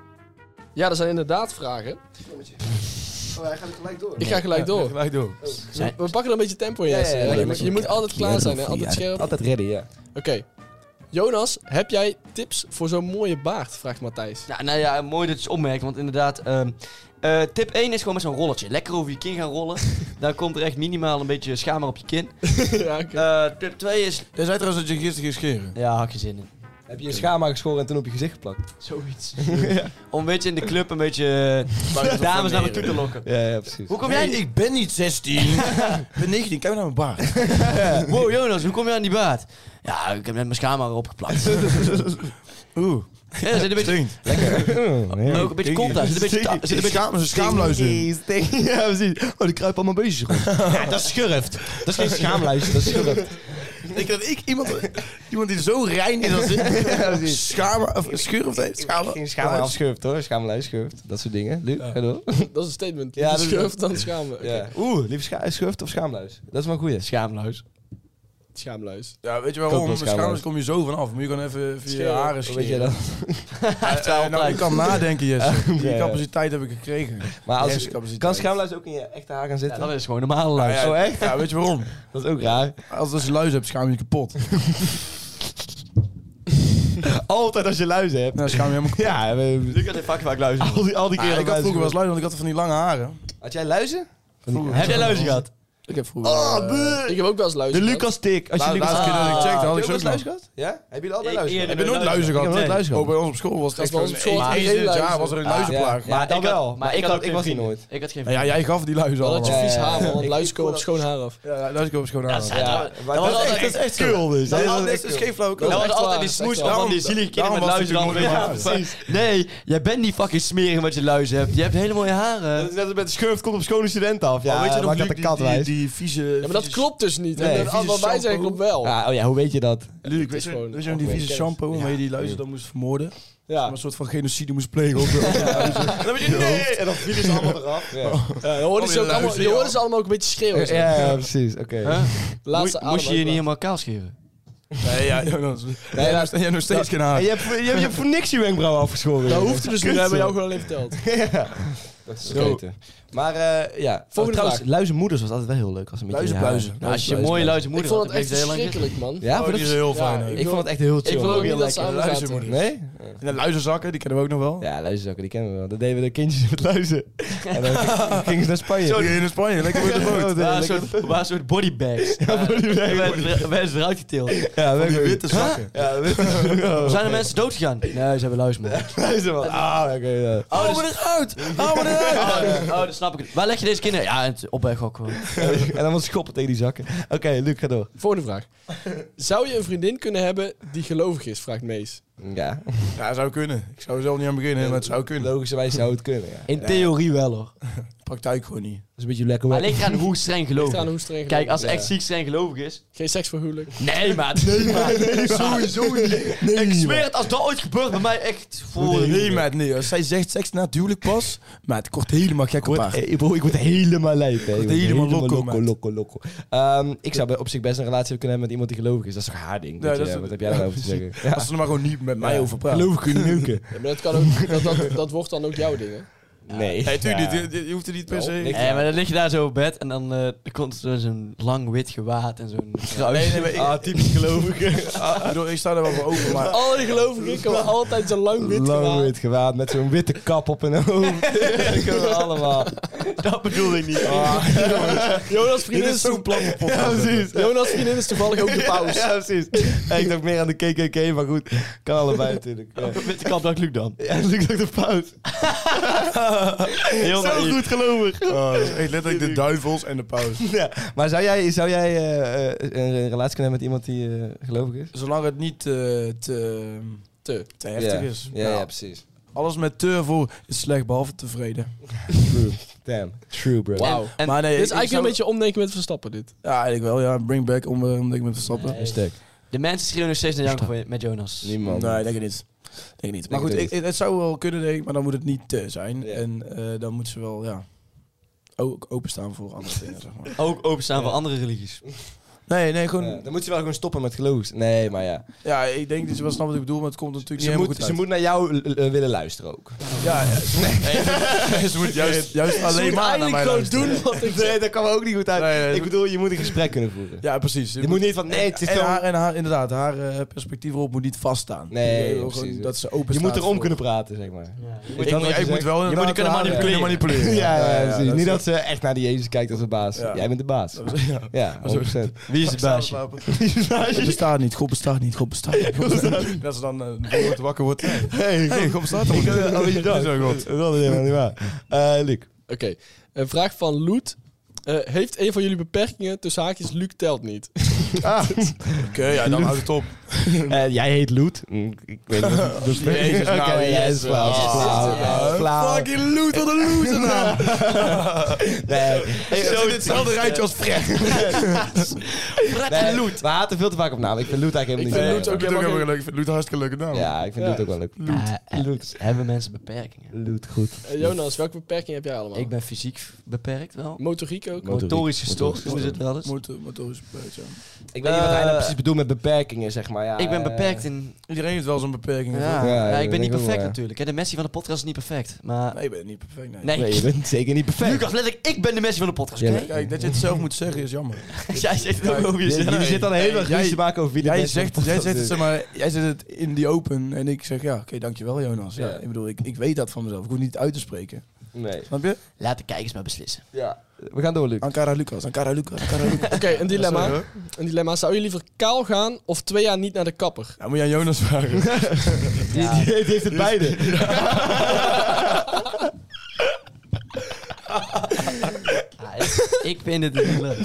Speaker 3: Ja, er zijn inderdaad vragen.
Speaker 2: Wij gaan Oh, gelijk door.
Speaker 3: Ik ga gelijk door.
Speaker 5: Gelijk door.
Speaker 3: We we pakken er een beetje tempo in,
Speaker 2: Ja, ja,
Speaker 3: Jesse.
Speaker 2: ja,
Speaker 3: hè?
Speaker 2: ja,
Speaker 3: Je
Speaker 2: ja,
Speaker 3: moet-
Speaker 2: ja.
Speaker 3: Je moet altijd klaar zijn, hè? altijd scherp.
Speaker 2: Altijd ready, ja.
Speaker 3: Oké. Jonas, heb jij tips voor zo'n mooie baard? Vraagt Matthijs.
Speaker 4: Ja, nou ja, mooi dat je het opmerkt, want inderdaad... ehm, eh, tip 1 is gewoon met zo'n rollertje. Lekker over je kin gaan rollen. Dan komt er echt minimaal een beetje schaamhaar op je kin.
Speaker 3: ja, oké.
Speaker 4: Eh, tip 2 is...
Speaker 5: Jij zei trouwens dat je gisteren ging scheren.
Speaker 4: Ja, hak je zin in.
Speaker 2: Heb je een schaamhaar geschoren en toen op je gezicht geplakt?
Speaker 4: Zoiets. Om een beetje in de club een beetje eh, dames naar me toe te lokken.
Speaker 2: Ja, ja precies.
Speaker 4: Hoe kom
Speaker 5: Hey,
Speaker 4: jij...
Speaker 5: ik ben niet 16. ik ben 19. Kijk naar mijn baard.
Speaker 4: Wow, Jonas, hoe kom jij aan die baard? Ja, ik heb net mijn schaamhaar opgeplakt. Ja,
Speaker 5: Oeh,
Speaker 4: er zit een beetje...
Speaker 5: stinkt.
Speaker 4: Ook een beetje kont uit. Er zit een beetje... ta- er zit een beetje
Speaker 5: schaam, een schaamluis in.
Speaker 2: Ja, precies. Oh, die kruipen allemaal beestjes rond. Ja, dat schurft. Dat is geen schaamluis, dat is schurft.
Speaker 5: Ik denk dat ik iemand, iemand die zo rein is als ik. Schaam, of scheur of nee, schaam.
Speaker 2: Geen schaamluis schurft hoor, schaamluis schurft. Dat soort dingen. Luc, ga door.
Speaker 3: Dat is een statement.
Speaker 2: Ja,
Speaker 3: Ja,
Speaker 2: dat is-
Speaker 3: Schurft dan schamen. Oké.
Speaker 2: Ja. Oeh, liever scha schurft of schaamluis? Dat is wel een goeie.
Speaker 4: Schaamluis.
Speaker 3: Schaamluis.
Speaker 5: Ja, weet je
Speaker 2: Ik ook
Speaker 5: waarom?
Speaker 2: wel
Speaker 5: Met schaamluis
Speaker 2: schaamluis.
Speaker 5: kom je zo vanaf. Moet je gewoon even via je
Speaker 3: Scheren.
Speaker 5: haren
Speaker 2: Weet je
Speaker 5: scheren.
Speaker 2: dat?
Speaker 5: Eh, nou, ik kan nadenken, Jesse. Die
Speaker 2: Ja.
Speaker 5: capaciteit heb ik gekregen.
Speaker 2: Maar
Speaker 5: Yes,
Speaker 2: als,
Speaker 5: capaciteit.
Speaker 2: kan schaamluis ook in je echte haar gaan
Speaker 4: Ja,
Speaker 2: zitten?
Speaker 4: dat is gewoon normale
Speaker 5: Nou
Speaker 4: luis.
Speaker 5: ja,
Speaker 2: Oh, echt?
Speaker 5: Ja, weet je waarom?
Speaker 2: dat is ook raar.
Speaker 5: Als als je luis hebt, schaam je je kapot.
Speaker 2: Altijd als je luizen hebt.
Speaker 5: Nou, schaam je helemaal kapot.
Speaker 2: Ja, we,
Speaker 4: Lucas heeft vaak vaak luis.
Speaker 2: al die, al die
Speaker 5: Ah,
Speaker 2: keren
Speaker 5: ik had vroeger wel
Speaker 2: luizen.
Speaker 5: eens luis, want ik had van die lange haren.
Speaker 2: Had jij luizen?
Speaker 5: Vroeger.
Speaker 4: Heb jij luizen gehad?
Speaker 5: Ik heb vroeger...
Speaker 2: Oh,
Speaker 5: eh,
Speaker 3: Ik heb ook wel eens
Speaker 2: De
Speaker 3: luizen. gehad.
Speaker 2: Lucas tik. Als je
Speaker 5: laatste-
Speaker 2: Lucas
Speaker 5: laatste keer dat ik checkte, had
Speaker 2: Heb je
Speaker 5: ik ze
Speaker 2: ook wel
Speaker 5: ook
Speaker 2: eens
Speaker 5: nog.
Speaker 2: luizen gehad? Ja? Hebben jullie altijd
Speaker 4: Ik-
Speaker 2: luizen gehad?
Speaker 4: eerder.
Speaker 5: Heb je nooit luizen gehad?
Speaker 2: Ik heb nooit luizen gehad.
Speaker 5: Oh, bij ons op school was het
Speaker 3: Dat
Speaker 5: echt
Speaker 3: was bij ons
Speaker 5: gewoon-
Speaker 3: op school
Speaker 5: Eens
Speaker 3: geen
Speaker 5: in het jaar
Speaker 3: luizen.
Speaker 5: was er een
Speaker 2: Ah,
Speaker 5: luizenplaag.
Speaker 2: ja. Maar dat
Speaker 4: ik had-
Speaker 2: wel.
Speaker 4: maar
Speaker 2: Maar
Speaker 4: ik
Speaker 2: ik
Speaker 4: had
Speaker 2: had-
Speaker 4: ook
Speaker 2: ik
Speaker 4: geen
Speaker 2: was die
Speaker 4: vrienden.
Speaker 2: nooit.
Speaker 4: Ik had geen
Speaker 5: Nou ja,
Speaker 4: vrienden.
Speaker 5: jij gaf die luizen
Speaker 3: Wel dat je
Speaker 5: allemaal.
Speaker 2: Oh, Ja,
Speaker 3: vies
Speaker 2: ja,
Speaker 3: haar,
Speaker 2: ja.
Speaker 3: man. Want
Speaker 2: Ik-
Speaker 3: luizen
Speaker 2: ik
Speaker 3: komen op
Speaker 2: vond
Speaker 3: schoon haar af.
Speaker 5: Ja, luizen komen schoon aan.
Speaker 4: Dat
Speaker 2: Ja,
Speaker 4: is- dat- dat
Speaker 2: maar dat is
Speaker 4: was altijd-
Speaker 2: echt- dat is echt kul dus.
Speaker 5: Dat
Speaker 2: hè?
Speaker 5: is
Speaker 2: Dat is-
Speaker 5: altijd- dat is geen flauwekul.
Speaker 4: Dat was
Speaker 3: echt
Speaker 4: altijd
Speaker 3: waar,
Speaker 4: die
Speaker 3: echt
Speaker 4: smoes
Speaker 3: waar.
Speaker 4: van die zielige kinderen met
Speaker 5: Daarom was
Speaker 4: luizen
Speaker 5: het
Speaker 4: dan weer.
Speaker 5: natuurlijk
Speaker 4: Ja,
Speaker 5: nooit
Speaker 4: precies. Nee, jij bent niet fucking smerig met je luizen hebt. Je hebt hele mooie haren.
Speaker 2: Dat is net als met de schurft komt op schone student af. Ja,
Speaker 5: Oh, weet je nog,
Speaker 2: maakt dat
Speaker 5: Luc,
Speaker 2: de
Speaker 5: die,
Speaker 2: kat
Speaker 5: die,
Speaker 2: wijs.
Speaker 5: die vieze...
Speaker 3: Ja, maar dat klopt dus niet.
Speaker 2: Nee,
Speaker 3: En dan,
Speaker 5: vieze
Speaker 3: wat wij zeggen
Speaker 5: shampoo.
Speaker 3: klopt wel.
Speaker 2: Ja, oh ja, hoe weet je dat?
Speaker 5: Luc,
Speaker 3: is
Speaker 5: weet je
Speaker 3: gewoon-
Speaker 5: weet je nog die vieze shampoo waarmee je die luizen dan moest vermoorden?
Speaker 3: Ja.
Speaker 5: Maar een soort van genocide moest plegen op de op de luizen. En dan weet je, nee!
Speaker 2: En dan vielen ze allemaal eraf. Ja,
Speaker 3: Ja, je hoorde
Speaker 5: Oh,
Speaker 3: ze,
Speaker 5: die
Speaker 3: ook allemaal,
Speaker 5: luizen,
Speaker 3: je
Speaker 5: ja.
Speaker 3: hoorde ze allemaal ook een beetje schreeuwen. zo.
Speaker 2: ja, ja, precies. Oké.
Speaker 4: Huh?
Speaker 3: Laatste
Speaker 4: Moest je je niet
Speaker 3: adem ook
Speaker 4: helemaal kaal scheren?
Speaker 5: Nee, ja, Jonas.
Speaker 2: Nee,
Speaker 5: Jij
Speaker 2: dat-
Speaker 5: hebt nog- jij hebt nog steeds geen haar.
Speaker 2: En je hebt, je, hebt, je hebt voor niks je wenkbrauw afgeschoren.
Speaker 3: wel. Dat
Speaker 2: joh.
Speaker 3: hoeft dus niet, dat hebben we jou gewoon alleen verteld.
Speaker 2: Ja. Dat is
Speaker 5: Zo.
Speaker 2: weten. Maar eh, ja,
Speaker 3: Volgende
Speaker 2: trouwens,
Speaker 3: vraag.
Speaker 2: luizenmoeders was altijd wel heel leuk. Als een beetje
Speaker 5: Luizenpluizen.
Speaker 2: Ja,
Speaker 4: Nou, als je een
Speaker 5: luizen,
Speaker 4: mooie luizen
Speaker 3: Ik
Speaker 4: moeder
Speaker 3: vond
Speaker 4: had,
Speaker 3: het
Speaker 4: dan
Speaker 3: echt
Speaker 4: bleef je de hele lang
Speaker 3: verschrikkelijk, man.
Speaker 2: Ja,
Speaker 5: Oh,
Speaker 2: maar
Speaker 5: die
Speaker 2: dat
Speaker 5: is
Speaker 2: is-
Speaker 5: heel
Speaker 3: Ja,
Speaker 5: fijn. hè.
Speaker 2: ik vond het echt heel chill.
Speaker 3: Ik wil ook
Speaker 2: hoor.
Speaker 3: niet dat ze aan me zaten.
Speaker 5: Luizenmoeder.
Speaker 2: Nee?
Speaker 5: En de luizenzakken, die kennen we ook nog wel.
Speaker 2: Ja, luizenzakken, die kennen we wel. Dat deden we de kindjes met luizen. En dan ging- gingen ze naar Spanje.
Speaker 5: Zo, die in Spanje, lekker met de boot.
Speaker 2: Ja,
Speaker 4: Waar een
Speaker 2: lekker-
Speaker 4: soort, waar een soort bodybags. Ja, bodybags. Werden ze eruit getild.
Speaker 2: Ja,
Speaker 5: Van
Speaker 2: weet
Speaker 5: die
Speaker 2: ik ook
Speaker 5: witte
Speaker 2: niet.
Speaker 5: zakken.
Speaker 2: Ja, witte
Speaker 4: Zijn er mensen doodgegaan? Nee, ze hebben luizen, man.
Speaker 2: luizen. man. Ah, oké. ja.
Speaker 4: Oh,
Speaker 5: Hou me eruit! Hou me eruit!
Speaker 4: Oh, oh, dat snap ik. Waar leg je deze kinderen? Ja, het opweg ook gewoon.
Speaker 2: En dan wat schoppen tegen die zakken. Oké, Luc, ga door.
Speaker 3: Volgende vraag. Zou je een vriendin kunnen hebben die gelovig is? Vraagt Mees.
Speaker 2: Ja,
Speaker 5: Ja, zou kunnen. Ik zou er zelf niet aan beginnen, maar het zou kunnen.
Speaker 2: logischerwijs zou het kunnen. Ja. Dat
Speaker 4: In theorie wel, hoor.
Speaker 5: Praktijk gewoon niet.
Speaker 2: is een beetje lekker.
Speaker 4: Maar ligt eraan hoe streng
Speaker 3: Ligt eraan
Speaker 4: gelovig.
Speaker 3: hoe streng
Speaker 4: Kijk,
Speaker 3: gelovig
Speaker 4: als
Speaker 3: is.
Speaker 4: het echt ziek streng gelovig is...
Speaker 3: Geen seks voor huwelijk.
Speaker 4: Nee, maat. Nee, maat. Sowieso niet. ik zweer het, als dat ooit gebeurt bij mij echt... Voor
Speaker 5: Nee, nee, maat, nee. Als zij zegt seks na het huwelijk pas, maar het kort helemaal gek op
Speaker 2: Word-
Speaker 5: haar.
Speaker 2: eh, ik, word, ik word helemaal lijp. hè. Ik word
Speaker 5: helemaal loco,
Speaker 2: loco,
Speaker 5: maat.
Speaker 2: loco, loco. Ehm, ik zou bij- op zich best een relatie kunnen hebben met iemand die gelovig is. Dat is toch haar ding?
Speaker 5: Ja,
Speaker 2: weet
Speaker 5: dat
Speaker 2: je,
Speaker 5: is-
Speaker 2: Wat heb jij daarover te zeggen? Ja.
Speaker 5: Als ze er maar gewoon niet met mij over praten.
Speaker 2: Gelovig kunnen neuken.
Speaker 3: Ja, maar dat, kan ook, dat, dat, dat wordt dan ook jouw ding, hè?
Speaker 2: Nee.
Speaker 5: Nee, tuurlijk
Speaker 2: Ja.
Speaker 5: niet. Je, je hoeft er niet per se...
Speaker 2: Wel,
Speaker 5: Nee,
Speaker 2: niks.
Speaker 4: Eh, maar dan lig je daar zo op bed en dan eh, er komt er zo'n lang wit gewaad en zo'n kruis.
Speaker 5: nee, maar ik,
Speaker 3: Ah, typisch Oh, gelovige.
Speaker 5: ah, ik bedoel, ik sta daar wel voor open, maar...
Speaker 3: Al die gelovigen komen altijd zo lang wit
Speaker 2: Lang
Speaker 3: gewaad.
Speaker 2: wit gewaad met zo'n witte kap op hun hoofd. dat kunnen we allemaal.
Speaker 4: Dat bedoel ik niet.
Speaker 3: Jonas'
Speaker 5: Dit
Speaker 3: vriendin
Speaker 5: is
Speaker 3: is,
Speaker 5: zo'n platte pot.
Speaker 2: Ja, precies.
Speaker 3: Jonas' vriendin is toevallig ook de paus.
Speaker 2: Ja, precies. Ja, ik dacht meer aan de KKK, maar goed. Kan allebei natuurlijk. Ja.
Speaker 4: Met de kap dat lukt dan.
Speaker 2: Ja, dat lukt ook de pauze.
Speaker 4: Heel
Speaker 2: Zo
Speaker 4: goed gelovig.
Speaker 5: Oh, dat is echt letterlijk de duivels en de paus.
Speaker 2: Ja. Maar zou jij, zou jij eh, eh, een, een relatie kunnen hebben met iemand die eh, gelovig is?
Speaker 5: Zolang het niet eh, te,
Speaker 3: Te.
Speaker 5: te heftig is. Nou.
Speaker 2: Ja, ja, precies.
Speaker 5: Alles met te voor is slecht, behalve tevreden.
Speaker 2: True. Damn. True, bro.
Speaker 3: Wauw.
Speaker 4: En-
Speaker 5: maar nee,
Speaker 3: Dit is
Speaker 5: ik
Speaker 3: eigenlijk
Speaker 5: zou-
Speaker 3: een beetje omdenken met Verstappen, dit.
Speaker 5: Ja, eigenlijk wel. Ja, bring back om, eh, om denk ik met te stappen.
Speaker 4: Nee.
Speaker 2: Stuk.
Speaker 4: De mensen schreeuwen nog steeds naar Janko voor- met Jonas.
Speaker 2: Niemand.
Speaker 5: Nee, denk ik niet. Denk ik niet. Maar
Speaker 2: Denk
Speaker 5: goed,
Speaker 2: ik
Speaker 5: ik, het zou wel kunnen, denk ik, maar dan moet het niet te zijn.
Speaker 2: Ja.
Speaker 5: En eh, dan moet ze wel, ja, ook openstaan voor andere dingen, zeg maar.
Speaker 4: Ook openstaan voor andere religies.
Speaker 5: Nee, nee, gewoon...
Speaker 2: Ja, dan moet ze wel gewoon stoppen met geloof. Nee, maar ja.
Speaker 5: Ja, ik denk dat je wel snapt wat ik bedoel, maar het komt natuurlijk
Speaker 2: Ze
Speaker 5: niet
Speaker 2: moet,
Speaker 5: helemaal
Speaker 2: ze
Speaker 5: goed
Speaker 2: moet naar jou eh, eh, willen luisteren ook.
Speaker 5: uit. Ja, ja. ze moet juist, juist
Speaker 3: Ze
Speaker 5: alleen
Speaker 3: moeten
Speaker 5: maar naar mij
Speaker 3: eigenlijk gewoon
Speaker 5: luisteren.
Speaker 3: doen wat ik zeg.
Speaker 2: Nee, dat kan ook niet goed uit.
Speaker 5: Nee, nee,
Speaker 2: ik bedoel, je moet een gesprek kunnen voeren.
Speaker 5: Ja, precies.
Speaker 2: Je moet niet van, nee, het is
Speaker 5: en,
Speaker 2: gewoon-
Speaker 5: haar, en haar, inderdaad, haar eh, perspectief erop moet niet vaststaan.
Speaker 2: Nee,
Speaker 5: Je wil
Speaker 2: precies.
Speaker 5: gewoon dat ze open
Speaker 2: Je moet erom kunnen praten, zeg maar.
Speaker 5: Ik,
Speaker 2: moet
Speaker 5: moet-
Speaker 2: dan wat
Speaker 5: ik
Speaker 2: je
Speaker 5: moet
Speaker 2: zegt.
Speaker 5: wel
Speaker 2: Je moet
Speaker 5: inderdaad
Speaker 4: kunnen
Speaker 5: haar-
Speaker 4: manipuleren.
Speaker 5: kunnen
Speaker 2: Ja,
Speaker 5: manipuleren.
Speaker 2: ja, precies.
Speaker 5: dat
Speaker 2: Niet
Speaker 5: is-
Speaker 2: dat ze echt naar die Jezus kijkt als een baas.
Speaker 5: Ja.
Speaker 2: Jij bent de baas.
Speaker 5: dat is- ja.
Speaker 2: Ja, 100%.
Speaker 4: Wie is de baasje?
Speaker 5: God bestaat niet, God bestaat niet, God bestaat niet. God bestaat niet. Dat ze dan eh, de volgende wakker wordt.
Speaker 2: Hey,
Speaker 5: Hey, eh, God bestaat toch niet?
Speaker 2: oh, je
Speaker 5: Dat
Speaker 2: dat?
Speaker 5: is wel
Speaker 2: Dat
Speaker 5: God.
Speaker 2: is helemaal niet waar. Eh, Luc.
Speaker 3: Oké, een vraag van Loet. Eh, heeft een van jullie beperkingen tussen haakjes Luc telt niet?
Speaker 5: Oké, ja, dan houdt het op.
Speaker 2: Eh, jij heet Loet. Mm, Ik weet niet. wat- Dus
Speaker 5: Jezus,
Speaker 2: Oké,
Speaker 5: nou,
Speaker 2: Jezus,
Speaker 5: Jezus.
Speaker 2: flauw.
Speaker 5: Ah,
Speaker 2: Flauw. Flauw.
Speaker 5: Fucking loot, wat een loser nou. naam.
Speaker 2: Nee.
Speaker 5: Zo in hetzelfde rijtje als Fred.
Speaker 2: Nee, We haten veel te vaak op naam. Ik vind Loet eigenlijk
Speaker 3: Ik
Speaker 2: helemaal
Speaker 3: vind
Speaker 2: niet
Speaker 3: Loet ook
Speaker 5: Ik vind
Speaker 3: helemaal
Speaker 5: ook
Speaker 3: geen-
Speaker 5: wel leuk, nou. ik vind loot een hartstikke leuke naam.
Speaker 2: Ja, ik vind
Speaker 3: Ja.
Speaker 2: Loet ook wel leuk.
Speaker 4: Eh, Hebben mensen beperkingen?
Speaker 2: Loet, goed.
Speaker 3: Eh, Jonas, welke beperking heb jij allemaal?
Speaker 4: Ik ben fysiek beperkt wel.
Speaker 3: Motoriek ook?
Speaker 2: Motoriek.
Speaker 4: Motorisch gestoord, noemen ze het wel eens.
Speaker 5: Motor- Motorisch beperkt, ja.
Speaker 2: Ik weet niet wat hij nou
Speaker 4: Eh,
Speaker 2: precies bedoelt met beperkingen, zeg maar. Ja,
Speaker 4: Ik ben
Speaker 2: eh,
Speaker 4: beperkt in...
Speaker 5: Iedereen heeft wel zijn beperkingen.
Speaker 4: Ja,
Speaker 2: Ja, dat
Speaker 4: ja, ik ben
Speaker 2: denk
Speaker 4: niet
Speaker 2: ik ook
Speaker 4: perfect
Speaker 2: wel.
Speaker 4: natuurlijk. hè. De Messi van de podcast is niet perfect, maar...
Speaker 5: Nee, ik ben niet perfect, nee.
Speaker 4: Nee,
Speaker 2: Nee, je bent zeker niet perfect.
Speaker 4: Lucas, letterlijk, ik ben de Messi van de podcast,
Speaker 2: Ja,
Speaker 4: oké?
Speaker 2: maar-
Speaker 5: Kijk, dat je het zelf moet zeggen is jammer.
Speaker 4: Jij zegt het ook over
Speaker 2: Jullie-
Speaker 4: jezelf.
Speaker 2: Jullie zitten al heel erg
Speaker 5: Jij-
Speaker 2: ruzie te maken over wie de
Speaker 5: Jij
Speaker 2: beste
Speaker 5: zegt,
Speaker 2: podcast
Speaker 5: jij, zegt het,
Speaker 2: is.
Speaker 5: zeg maar, jij zegt het in die open en ik zeg ja, oké, dankjewel Jonas. Ja,
Speaker 2: Ja.
Speaker 5: Ik bedoel, ik, ik weet dat van mezelf. Ik hoef niet uit te spreken.
Speaker 2: Nee.
Speaker 5: Snap je?
Speaker 4: Laat de kijkers maar beslissen.
Speaker 2: Ja. Ah, We gaan door, Luc.
Speaker 5: Ankara Lucas, Ankara Lucas, Ankara Lucas.
Speaker 3: Oké, een dilemma. Een dilemma. Zou je liever kaal gaan of twee jaar niet naar de kapper?
Speaker 5: Ja, moet je aan Jonas vragen.
Speaker 2: Die, die- die heeft het beide.
Speaker 4: Ah, ik- ik vind het niet leuk.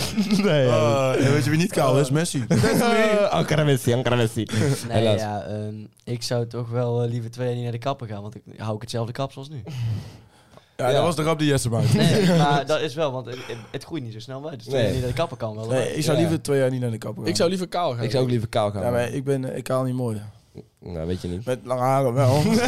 Speaker 2: Nee. Oh,
Speaker 5: Eh, en weet je wie niet kaal is? Messi.
Speaker 2: Ankara Messi, Ankara Messi.
Speaker 4: Nee,
Speaker 2: Helaas.
Speaker 4: ja, ehm, ik zou toch wel eh, liever twee jaar niet naar de kapper gaan, want ik hou ik hetzelfde kap zoals nu.
Speaker 5: Ja,
Speaker 2: Ja.
Speaker 5: dat was de grap die Jesse maakte.
Speaker 4: Nee, maar dat is wel, want het, het groeit niet zo snel uit. Dus twee
Speaker 2: Nee.
Speaker 4: jaar niet naar de kapper kan wel.
Speaker 5: Nee, ik zou
Speaker 2: Ja.
Speaker 5: liever twee jaar niet naar de kapper gaan.
Speaker 3: Ik zou liever kaal gaan.
Speaker 2: Ik zou ook liever kaal gaan.
Speaker 5: Ja, maar ik ben eh, ik kaal niet mooi.
Speaker 2: Nou, weet je niet.
Speaker 5: Met lange haren wel. Toch?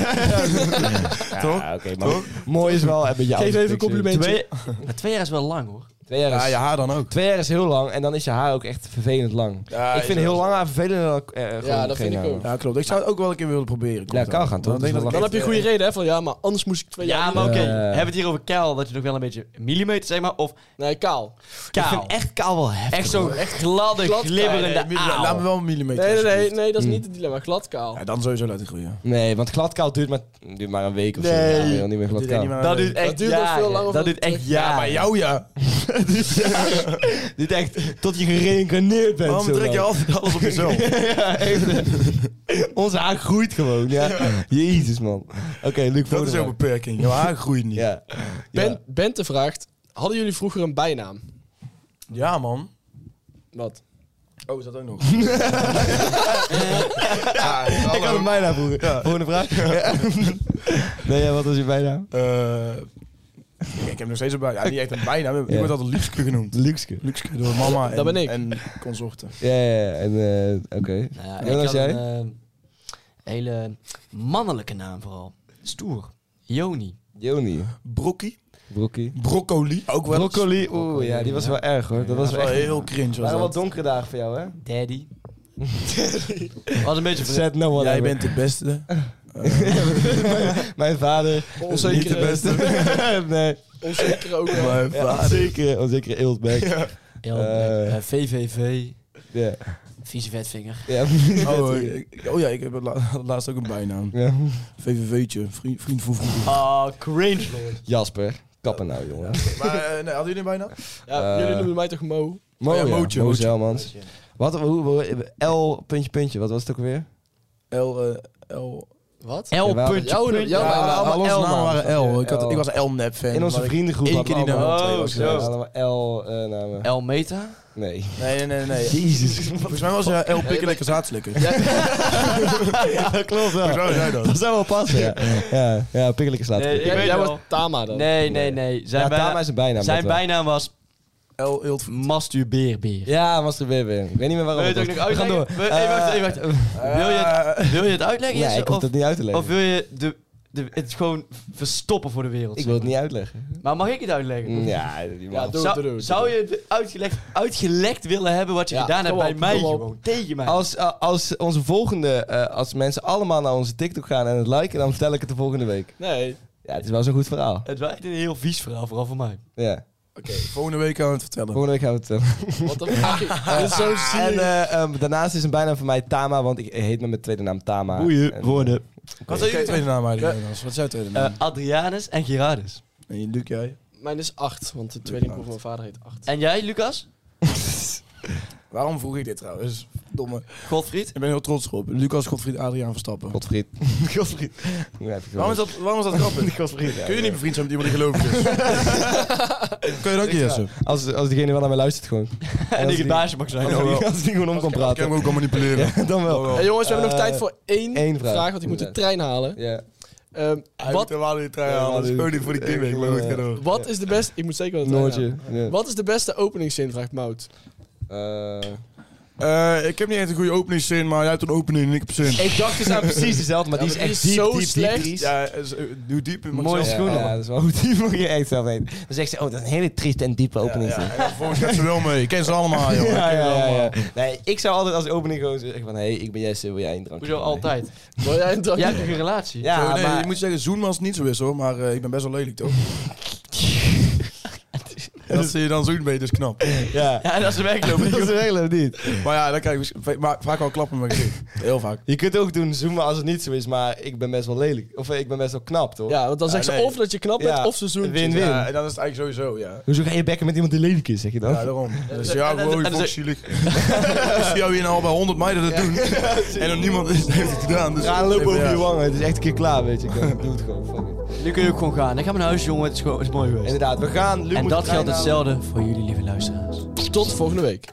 Speaker 2: Ja, oké, maar mooi is wel een beetje
Speaker 3: Geef even een compliment.
Speaker 4: Twee, maar twee jaar is wel lang hoor.
Speaker 2: Twee jaar,
Speaker 5: Ja,
Speaker 2: is,
Speaker 5: je haar dan ook.
Speaker 2: twee jaar is heel lang en dan is je haar ook echt vervelend lang.
Speaker 5: Ja,
Speaker 2: ik vind heel lang haar vervelender dan eh, gewoon
Speaker 3: Ja,
Speaker 2: geen
Speaker 3: dat vind ik
Speaker 2: haar.
Speaker 3: ook.
Speaker 5: Ja, klopt. Ik zou het ook wel een keer willen proberen.
Speaker 2: Ja, kaal gaan, toch?
Speaker 5: Dan denk ik eh,
Speaker 3: Dan
Speaker 5: dat ik
Speaker 3: heb je een goede reden, hè? Van ja, maar anders moest ik twee jaar
Speaker 4: Ja,
Speaker 3: niet
Speaker 4: maar
Speaker 3: naar-
Speaker 4: oké.
Speaker 2: Ja.
Speaker 4: Hebben we het hier over kaal, dat je nog wel een beetje millimeter zeg maar, of
Speaker 3: Nee, kaal.
Speaker 4: kaal?
Speaker 2: Ik vind echt kaal wel heftig.
Speaker 4: Echt zo'n echt gladde,
Speaker 3: Glad-
Speaker 4: glibberende
Speaker 5: Nee,
Speaker 4: aal.
Speaker 3: Nou,
Speaker 5: Laat me wel een millimeter.
Speaker 3: Nee, nee, nee,
Speaker 5: alsjeblieft.
Speaker 3: nee dat is niet het dilemma. Glad kaal.
Speaker 5: Ja, dan sowieso laten groeien.
Speaker 2: Nee, want gladkaal duurt maar, duurt maar een week of zo.
Speaker 4: Nee.
Speaker 2: Ja, ben je al niet meer
Speaker 5: Dit
Speaker 2: gladkaal.
Speaker 5: niet meer-
Speaker 4: Dat duurt echt
Speaker 3: duurt nog
Speaker 4: jaren.
Speaker 3: veel langer
Speaker 4: Dat
Speaker 3: voor-
Speaker 4: duurt echt
Speaker 3: Ja,
Speaker 4: jaren.
Speaker 5: Bij jou ja.
Speaker 2: Dit echt tot je gereïncarneerd bent.
Speaker 5: Waarom
Speaker 2: zo
Speaker 5: trek je
Speaker 2: lang.
Speaker 5: altijd alles op jezelf?
Speaker 2: Ja, even. Onze haar groeit gewoon, ja. Jezus, man. Oké, Luc,
Speaker 5: Dat is
Speaker 2: Vodeman.
Speaker 5: jouw beperking. Jouw haar groeit niet.
Speaker 2: Ja.
Speaker 3: Ben, Bente vraagt, hadden jullie vroeger een bijnaam?
Speaker 5: Ja, man.
Speaker 3: Wat?
Speaker 5: Oh, is dat ook nog? Ah,
Speaker 2: Ik had het bijna vroeger. Volgende vraag. nee, ja, wat was je bijnaam?
Speaker 5: Eh, ik heb nog steeds een bijnaam. Ja, niet echt een bijnaam. Ik
Speaker 2: Ja.
Speaker 5: word altijd Luxke genoemd.
Speaker 2: Luxke.
Speaker 5: Luxke door mama en,
Speaker 3: Dat ben ik.
Speaker 5: en consorten.
Speaker 2: Ja, ja, ja. En, eh, oké.
Speaker 4: Nou ja,
Speaker 2: Jonas,
Speaker 4: ik had
Speaker 2: jij?
Speaker 4: een eh, hele mannelijke naam vooral. Stoer. Joni.
Speaker 2: Joni.
Speaker 5: Brokkie.
Speaker 2: Brokkie.
Speaker 5: Broccoli. Ook wel.
Speaker 2: Broccoli. Oeh, ja, die was wel erg, hoor. Dat
Speaker 5: Dat
Speaker 2: was
Speaker 5: is
Speaker 2: wel
Speaker 5: wel
Speaker 2: echt...
Speaker 5: heel cringe. Was
Speaker 2: waren wel
Speaker 5: dat.
Speaker 2: donkere dagen voor jou, hè?
Speaker 4: Daddy. was een beetje... ver-
Speaker 2: Zet no one
Speaker 5: Jij
Speaker 2: ever.
Speaker 5: bent de beste. Eh,
Speaker 2: Mijn vader.
Speaker 5: Oh,
Speaker 3: Onzekere-
Speaker 2: Niet de beste. nee.
Speaker 3: Onzeker ook wel.
Speaker 5: mijn
Speaker 2: Ja,
Speaker 5: vader.
Speaker 2: onzekere, onzekere eeltbek. Ja. Eh.
Speaker 4: Eh, VVV,
Speaker 2: Ja.
Speaker 4: vieze vetvinger.
Speaker 2: Ja.
Speaker 5: Oh, eh, ik- oh ja, ik heb la- had laatst ook een bijnaam.
Speaker 2: Ja.
Speaker 5: VVV'tje, vriend, vriend van vroeger.
Speaker 4: Ah, cringe, lord.
Speaker 2: Jasper. Kappen nou, jongen.
Speaker 5: Maar eh, nee, hadden jullie een bijnaam?
Speaker 3: Ja,
Speaker 2: Eh.
Speaker 3: jullie noemen mij toch Mo?
Speaker 2: Mo,
Speaker 5: Ja,
Speaker 2: ja,
Speaker 5: Mootje,
Speaker 2: Mo
Speaker 5: Mootje.
Speaker 2: Zelmans. Wat, hoe, hoe- L, puntje, puntje. Wat was het ook weer?
Speaker 5: L, eh, L.
Speaker 3: Wat?
Speaker 4: L
Speaker 2: Jawel.
Speaker 4: puntje,
Speaker 3: Jouw-
Speaker 4: puntje.
Speaker 3: jouw-
Speaker 5: Ja,
Speaker 2: maar
Speaker 5: al onze
Speaker 2: allemaal
Speaker 5: namen
Speaker 2: L-namen,
Speaker 5: waren L.
Speaker 2: snap je?
Speaker 5: Ik, had, ik
Speaker 2: L.
Speaker 5: was een L-nap fan.
Speaker 2: In onze
Speaker 5: maar ik-
Speaker 2: vriendengroep
Speaker 5: één
Speaker 2: hadden we
Speaker 5: keer die
Speaker 2: allemaal
Speaker 5: naam.
Speaker 2: twee
Speaker 5: Oh,
Speaker 2: waarschijnlijk.
Speaker 5: zo.
Speaker 2: Allemaal L eh, namen.
Speaker 4: L meta.
Speaker 2: Nee.
Speaker 5: Nee, nee, nee. nee.
Speaker 2: Jezus.
Speaker 5: Volgens mij was eh, L pikken lekker zaadslikken.
Speaker 2: ja, dat klopt wel.
Speaker 5: Volgens mij was jij dat.
Speaker 2: Dat zou wel passen, ja. Ja, ja pikkelijke slaat.
Speaker 4: Nee, ik
Speaker 3: Jij,
Speaker 4: weet
Speaker 3: jij
Speaker 4: wel.
Speaker 3: was Tama dan.
Speaker 4: Nee, nee, nee. Zijn,
Speaker 2: ja, Tama
Speaker 4: bijna,
Speaker 2: is een bijnaam.
Speaker 4: zijn
Speaker 2: dat wel.
Speaker 4: bijnaam was
Speaker 5: L, Ilt.
Speaker 4: Masturbeerbeer.
Speaker 2: Ja, Master Baby. Ik weet niet meer waarom.
Speaker 4: Wil je het
Speaker 2: was.
Speaker 4: ook nog
Speaker 2: We gaan door. Eh,
Speaker 4: uitleggen? Wil- hey, wacht, hey, Wil je
Speaker 5: Ah,
Speaker 4: het, wil je het uitleggen?
Speaker 2: Ja,
Speaker 4: Jesse?
Speaker 2: ik hoef
Speaker 4: of,
Speaker 2: dat niet uit te leggen.
Speaker 4: of wil je de, de, het gewoon verstoppen voor de wereld?
Speaker 2: ik wil het niet uitleggen.
Speaker 4: Maar mag ik het uitleggen?
Speaker 2: Ja, die
Speaker 3: Ja,
Speaker 2: man.
Speaker 3: doe het, doe het,
Speaker 4: zou,
Speaker 3: doe het.
Speaker 4: zou je het uitgelekt, uitgelekt willen hebben wat je
Speaker 3: Ja,
Speaker 4: gedaan hebt
Speaker 3: kom
Speaker 4: bij
Speaker 3: op,
Speaker 4: mij?
Speaker 3: kom op.
Speaker 4: Gewoon tegen mij.
Speaker 2: Als, eh, als onze volgende, eh, als mensen allemaal naar onze TikTok gaan en het liken, dan vertel ik het de volgende week.
Speaker 3: Nee.
Speaker 2: Ja, het is wel zo'n goed verhaal.
Speaker 4: Het was echt een heel vies verhaal, vooral voor mij.
Speaker 2: Ja.
Speaker 5: Oké, volgende week gaan we het vertellen.
Speaker 2: Volgende week gaan we het. eh,
Speaker 3: Wat een fucking... Dit is zo zielig.
Speaker 2: en eh, ehm, daarnaast is een bijnaam van mij Tama, want ik heet met mijn tweede naam Tama. En, eh,
Speaker 5: Wat is jouw tweede naam eigenlijk? Jonas? Wat is jouw tweede naam?
Speaker 4: Eh, Adrianus en Gerardus.
Speaker 5: En Luc, jij?
Speaker 3: Mijn is 8, want de tweelingbroer van mijn vader heet 8.
Speaker 4: En jij, Lucas?
Speaker 5: Waarom vroeg ik dit trouwens? Domme.
Speaker 4: Godfried?
Speaker 5: Ik ben heel trots op. Lucas, Godfried, Adriaan Verstappen.
Speaker 2: Godfried. Godfried. Ja, heb ik
Speaker 5: Waarom is dat, waarom is dat grappig?
Speaker 2: Godfried?
Speaker 5: Kun je niet bevriend zijn met iemand die gelovig is? Kun je dat niet, Jesse?
Speaker 2: Als, als degene wel naar mij luistert gewoon.
Speaker 4: En
Speaker 2: als
Speaker 4: die het baasje mag zijn.
Speaker 2: Als
Speaker 5: Oh,
Speaker 2: die,
Speaker 5: wel.
Speaker 2: als die gewoon om kan
Speaker 5: Ik kan
Speaker 2: praten.
Speaker 5: hem ook al manipuleren.
Speaker 2: Dan wel.
Speaker 3: Hey, jongens, we hebben nog
Speaker 2: Eh,
Speaker 3: tijd voor één,
Speaker 2: één vraag.
Speaker 3: want ik moet de
Speaker 2: Ja.
Speaker 3: trein halen.
Speaker 2: Ja.
Speaker 3: Ehm,
Speaker 5: Hij moet
Speaker 3: wat,
Speaker 5: helemaal niet trein halen. Dat is dus gewoon niet voor die kringweek. Maar goed, ga door.
Speaker 3: wat is de beste... Ik moet zeker wel de trein
Speaker 2: Noortje.
Speaker 3: halen. Wat is de beste openingszin, vraagt Mout.
Speaker 2: Eh,
Speaker 5: Eh, ik heb niet echt een goede openingszin, maar jij hebt een opening en ik heb zin.
Speaker 2: Ik dacht dus aan precies dezelfde, maar
Speaker 3: Ja,
Speaker 2: die is
Speaker 3: maar die
Speaker 2: echt
Speaker 3: is
Speaker 2: diep,
Speaker 3: zo
Speaker 2: diep, diep,
Speaker 3: slecht.
Speaker 2: triest.
Speaker 5: Ja, is- eh, hoe diep mag
Speaker 4: Mooi
Speaker 5: zelf-
Speaker 4: schoen. schoenen,
Speaker 2: Ja,
Speaker 4: man.
Speaker 2: dat is wel goed. Die moet je echt zelf weten. Dan zegt ze, oh, dat is een hele trieste en diepe opening.
Speaker 5: Ja,
Speaker 2: Ja,
Speaker 5: ja, en vervolgens gaat ze wel mee. Ik ken ze allemaal, joh. Ik
Speaker 2: ja,
Speaker 5: ken ze
Speaker 2: ja, ja,
Speaker 5: allemaal.
Speaker 2: Nee, ik zou altijd als opening gewoon zeggen van, hé, hey, ik ben Jesse, wil jij een drankje?
Speaker 4: Hoezo
Speaker 2: van mij?
Speaker 4: altijd?
Speaker 3: Wil jij een drankje?
Speaker 4: Jij hebt toch een relatie?
Speaker 2: Ja,
Speaker 5: Zo, nee,
Speaker 2: maar...
Speaker 5: je moet zeggen, zoen als het niet zo is hoor, maar eh, ik ben best wel lelijk toch? En dat zie je dan zoen mee, dus knap.
Speaker 2: Ja.
Speaker 4: Ja, dat is de weglopen.
Speaker 2: Dat is de regel of niet.
Speaker 5: Maar ja, dan krijg ik maar vaak wel klappen met mijn gezicht. Heel vaak.
Speaker 2: Je kunt ook doen zoomen als het niet zo is, maar ik ben best wel lelijk. Of eh, ik ben best wel knap, toch?
Speaker 3: Ja, want dan zegt
Speaker 5: Ja,
Speaker 3: ze
Speaker 5: nee.
Speaker 3: of dat je knap bent,
Speaker 2: Ja,
Speaker 3: of ze zoent.
Speaker 2: win-win.
Speaker 5: Ja, en dan is het eigenlijk sowieso, ja.
Speaker 2: Hoezo ga je bekken met iemand die lelijk is, zeg je dan?
Speaker 5: Ja, daarom. Dus ja,
Speaker 4: en- en-
Speaker 5: gewoon
Speaker 4: en-
Speaker 5: volkszielig. Ik zie jou hier nou al bij 100 meiden dat doen. En dan niemand heeft het gedaan. Dus
Speaker 2: Ga lopen over
Speaker 5: Ja.
Speaker 2: je wangen, het is echt een keer klaar, weet je. Ik eh, Doe het gewoon, fuck it.
Speaker 4: Nu kun je ook gewoon gaan. Dan gaan we naar huis, jongen. Het is, gewoon, het is mooi geweest.
Speaker 2: Inderdaad, we gaan. Luc
Speaker 4: En
Speaker 2: moet
Speaker 4: dat
Speaker 2: de trein
Speaker 4: geldt dus
Speaker 2: halen.
Speaker 4: hetzelfde voor jullie, lieve luisteraars.
Speaker 3: Tot volgende week.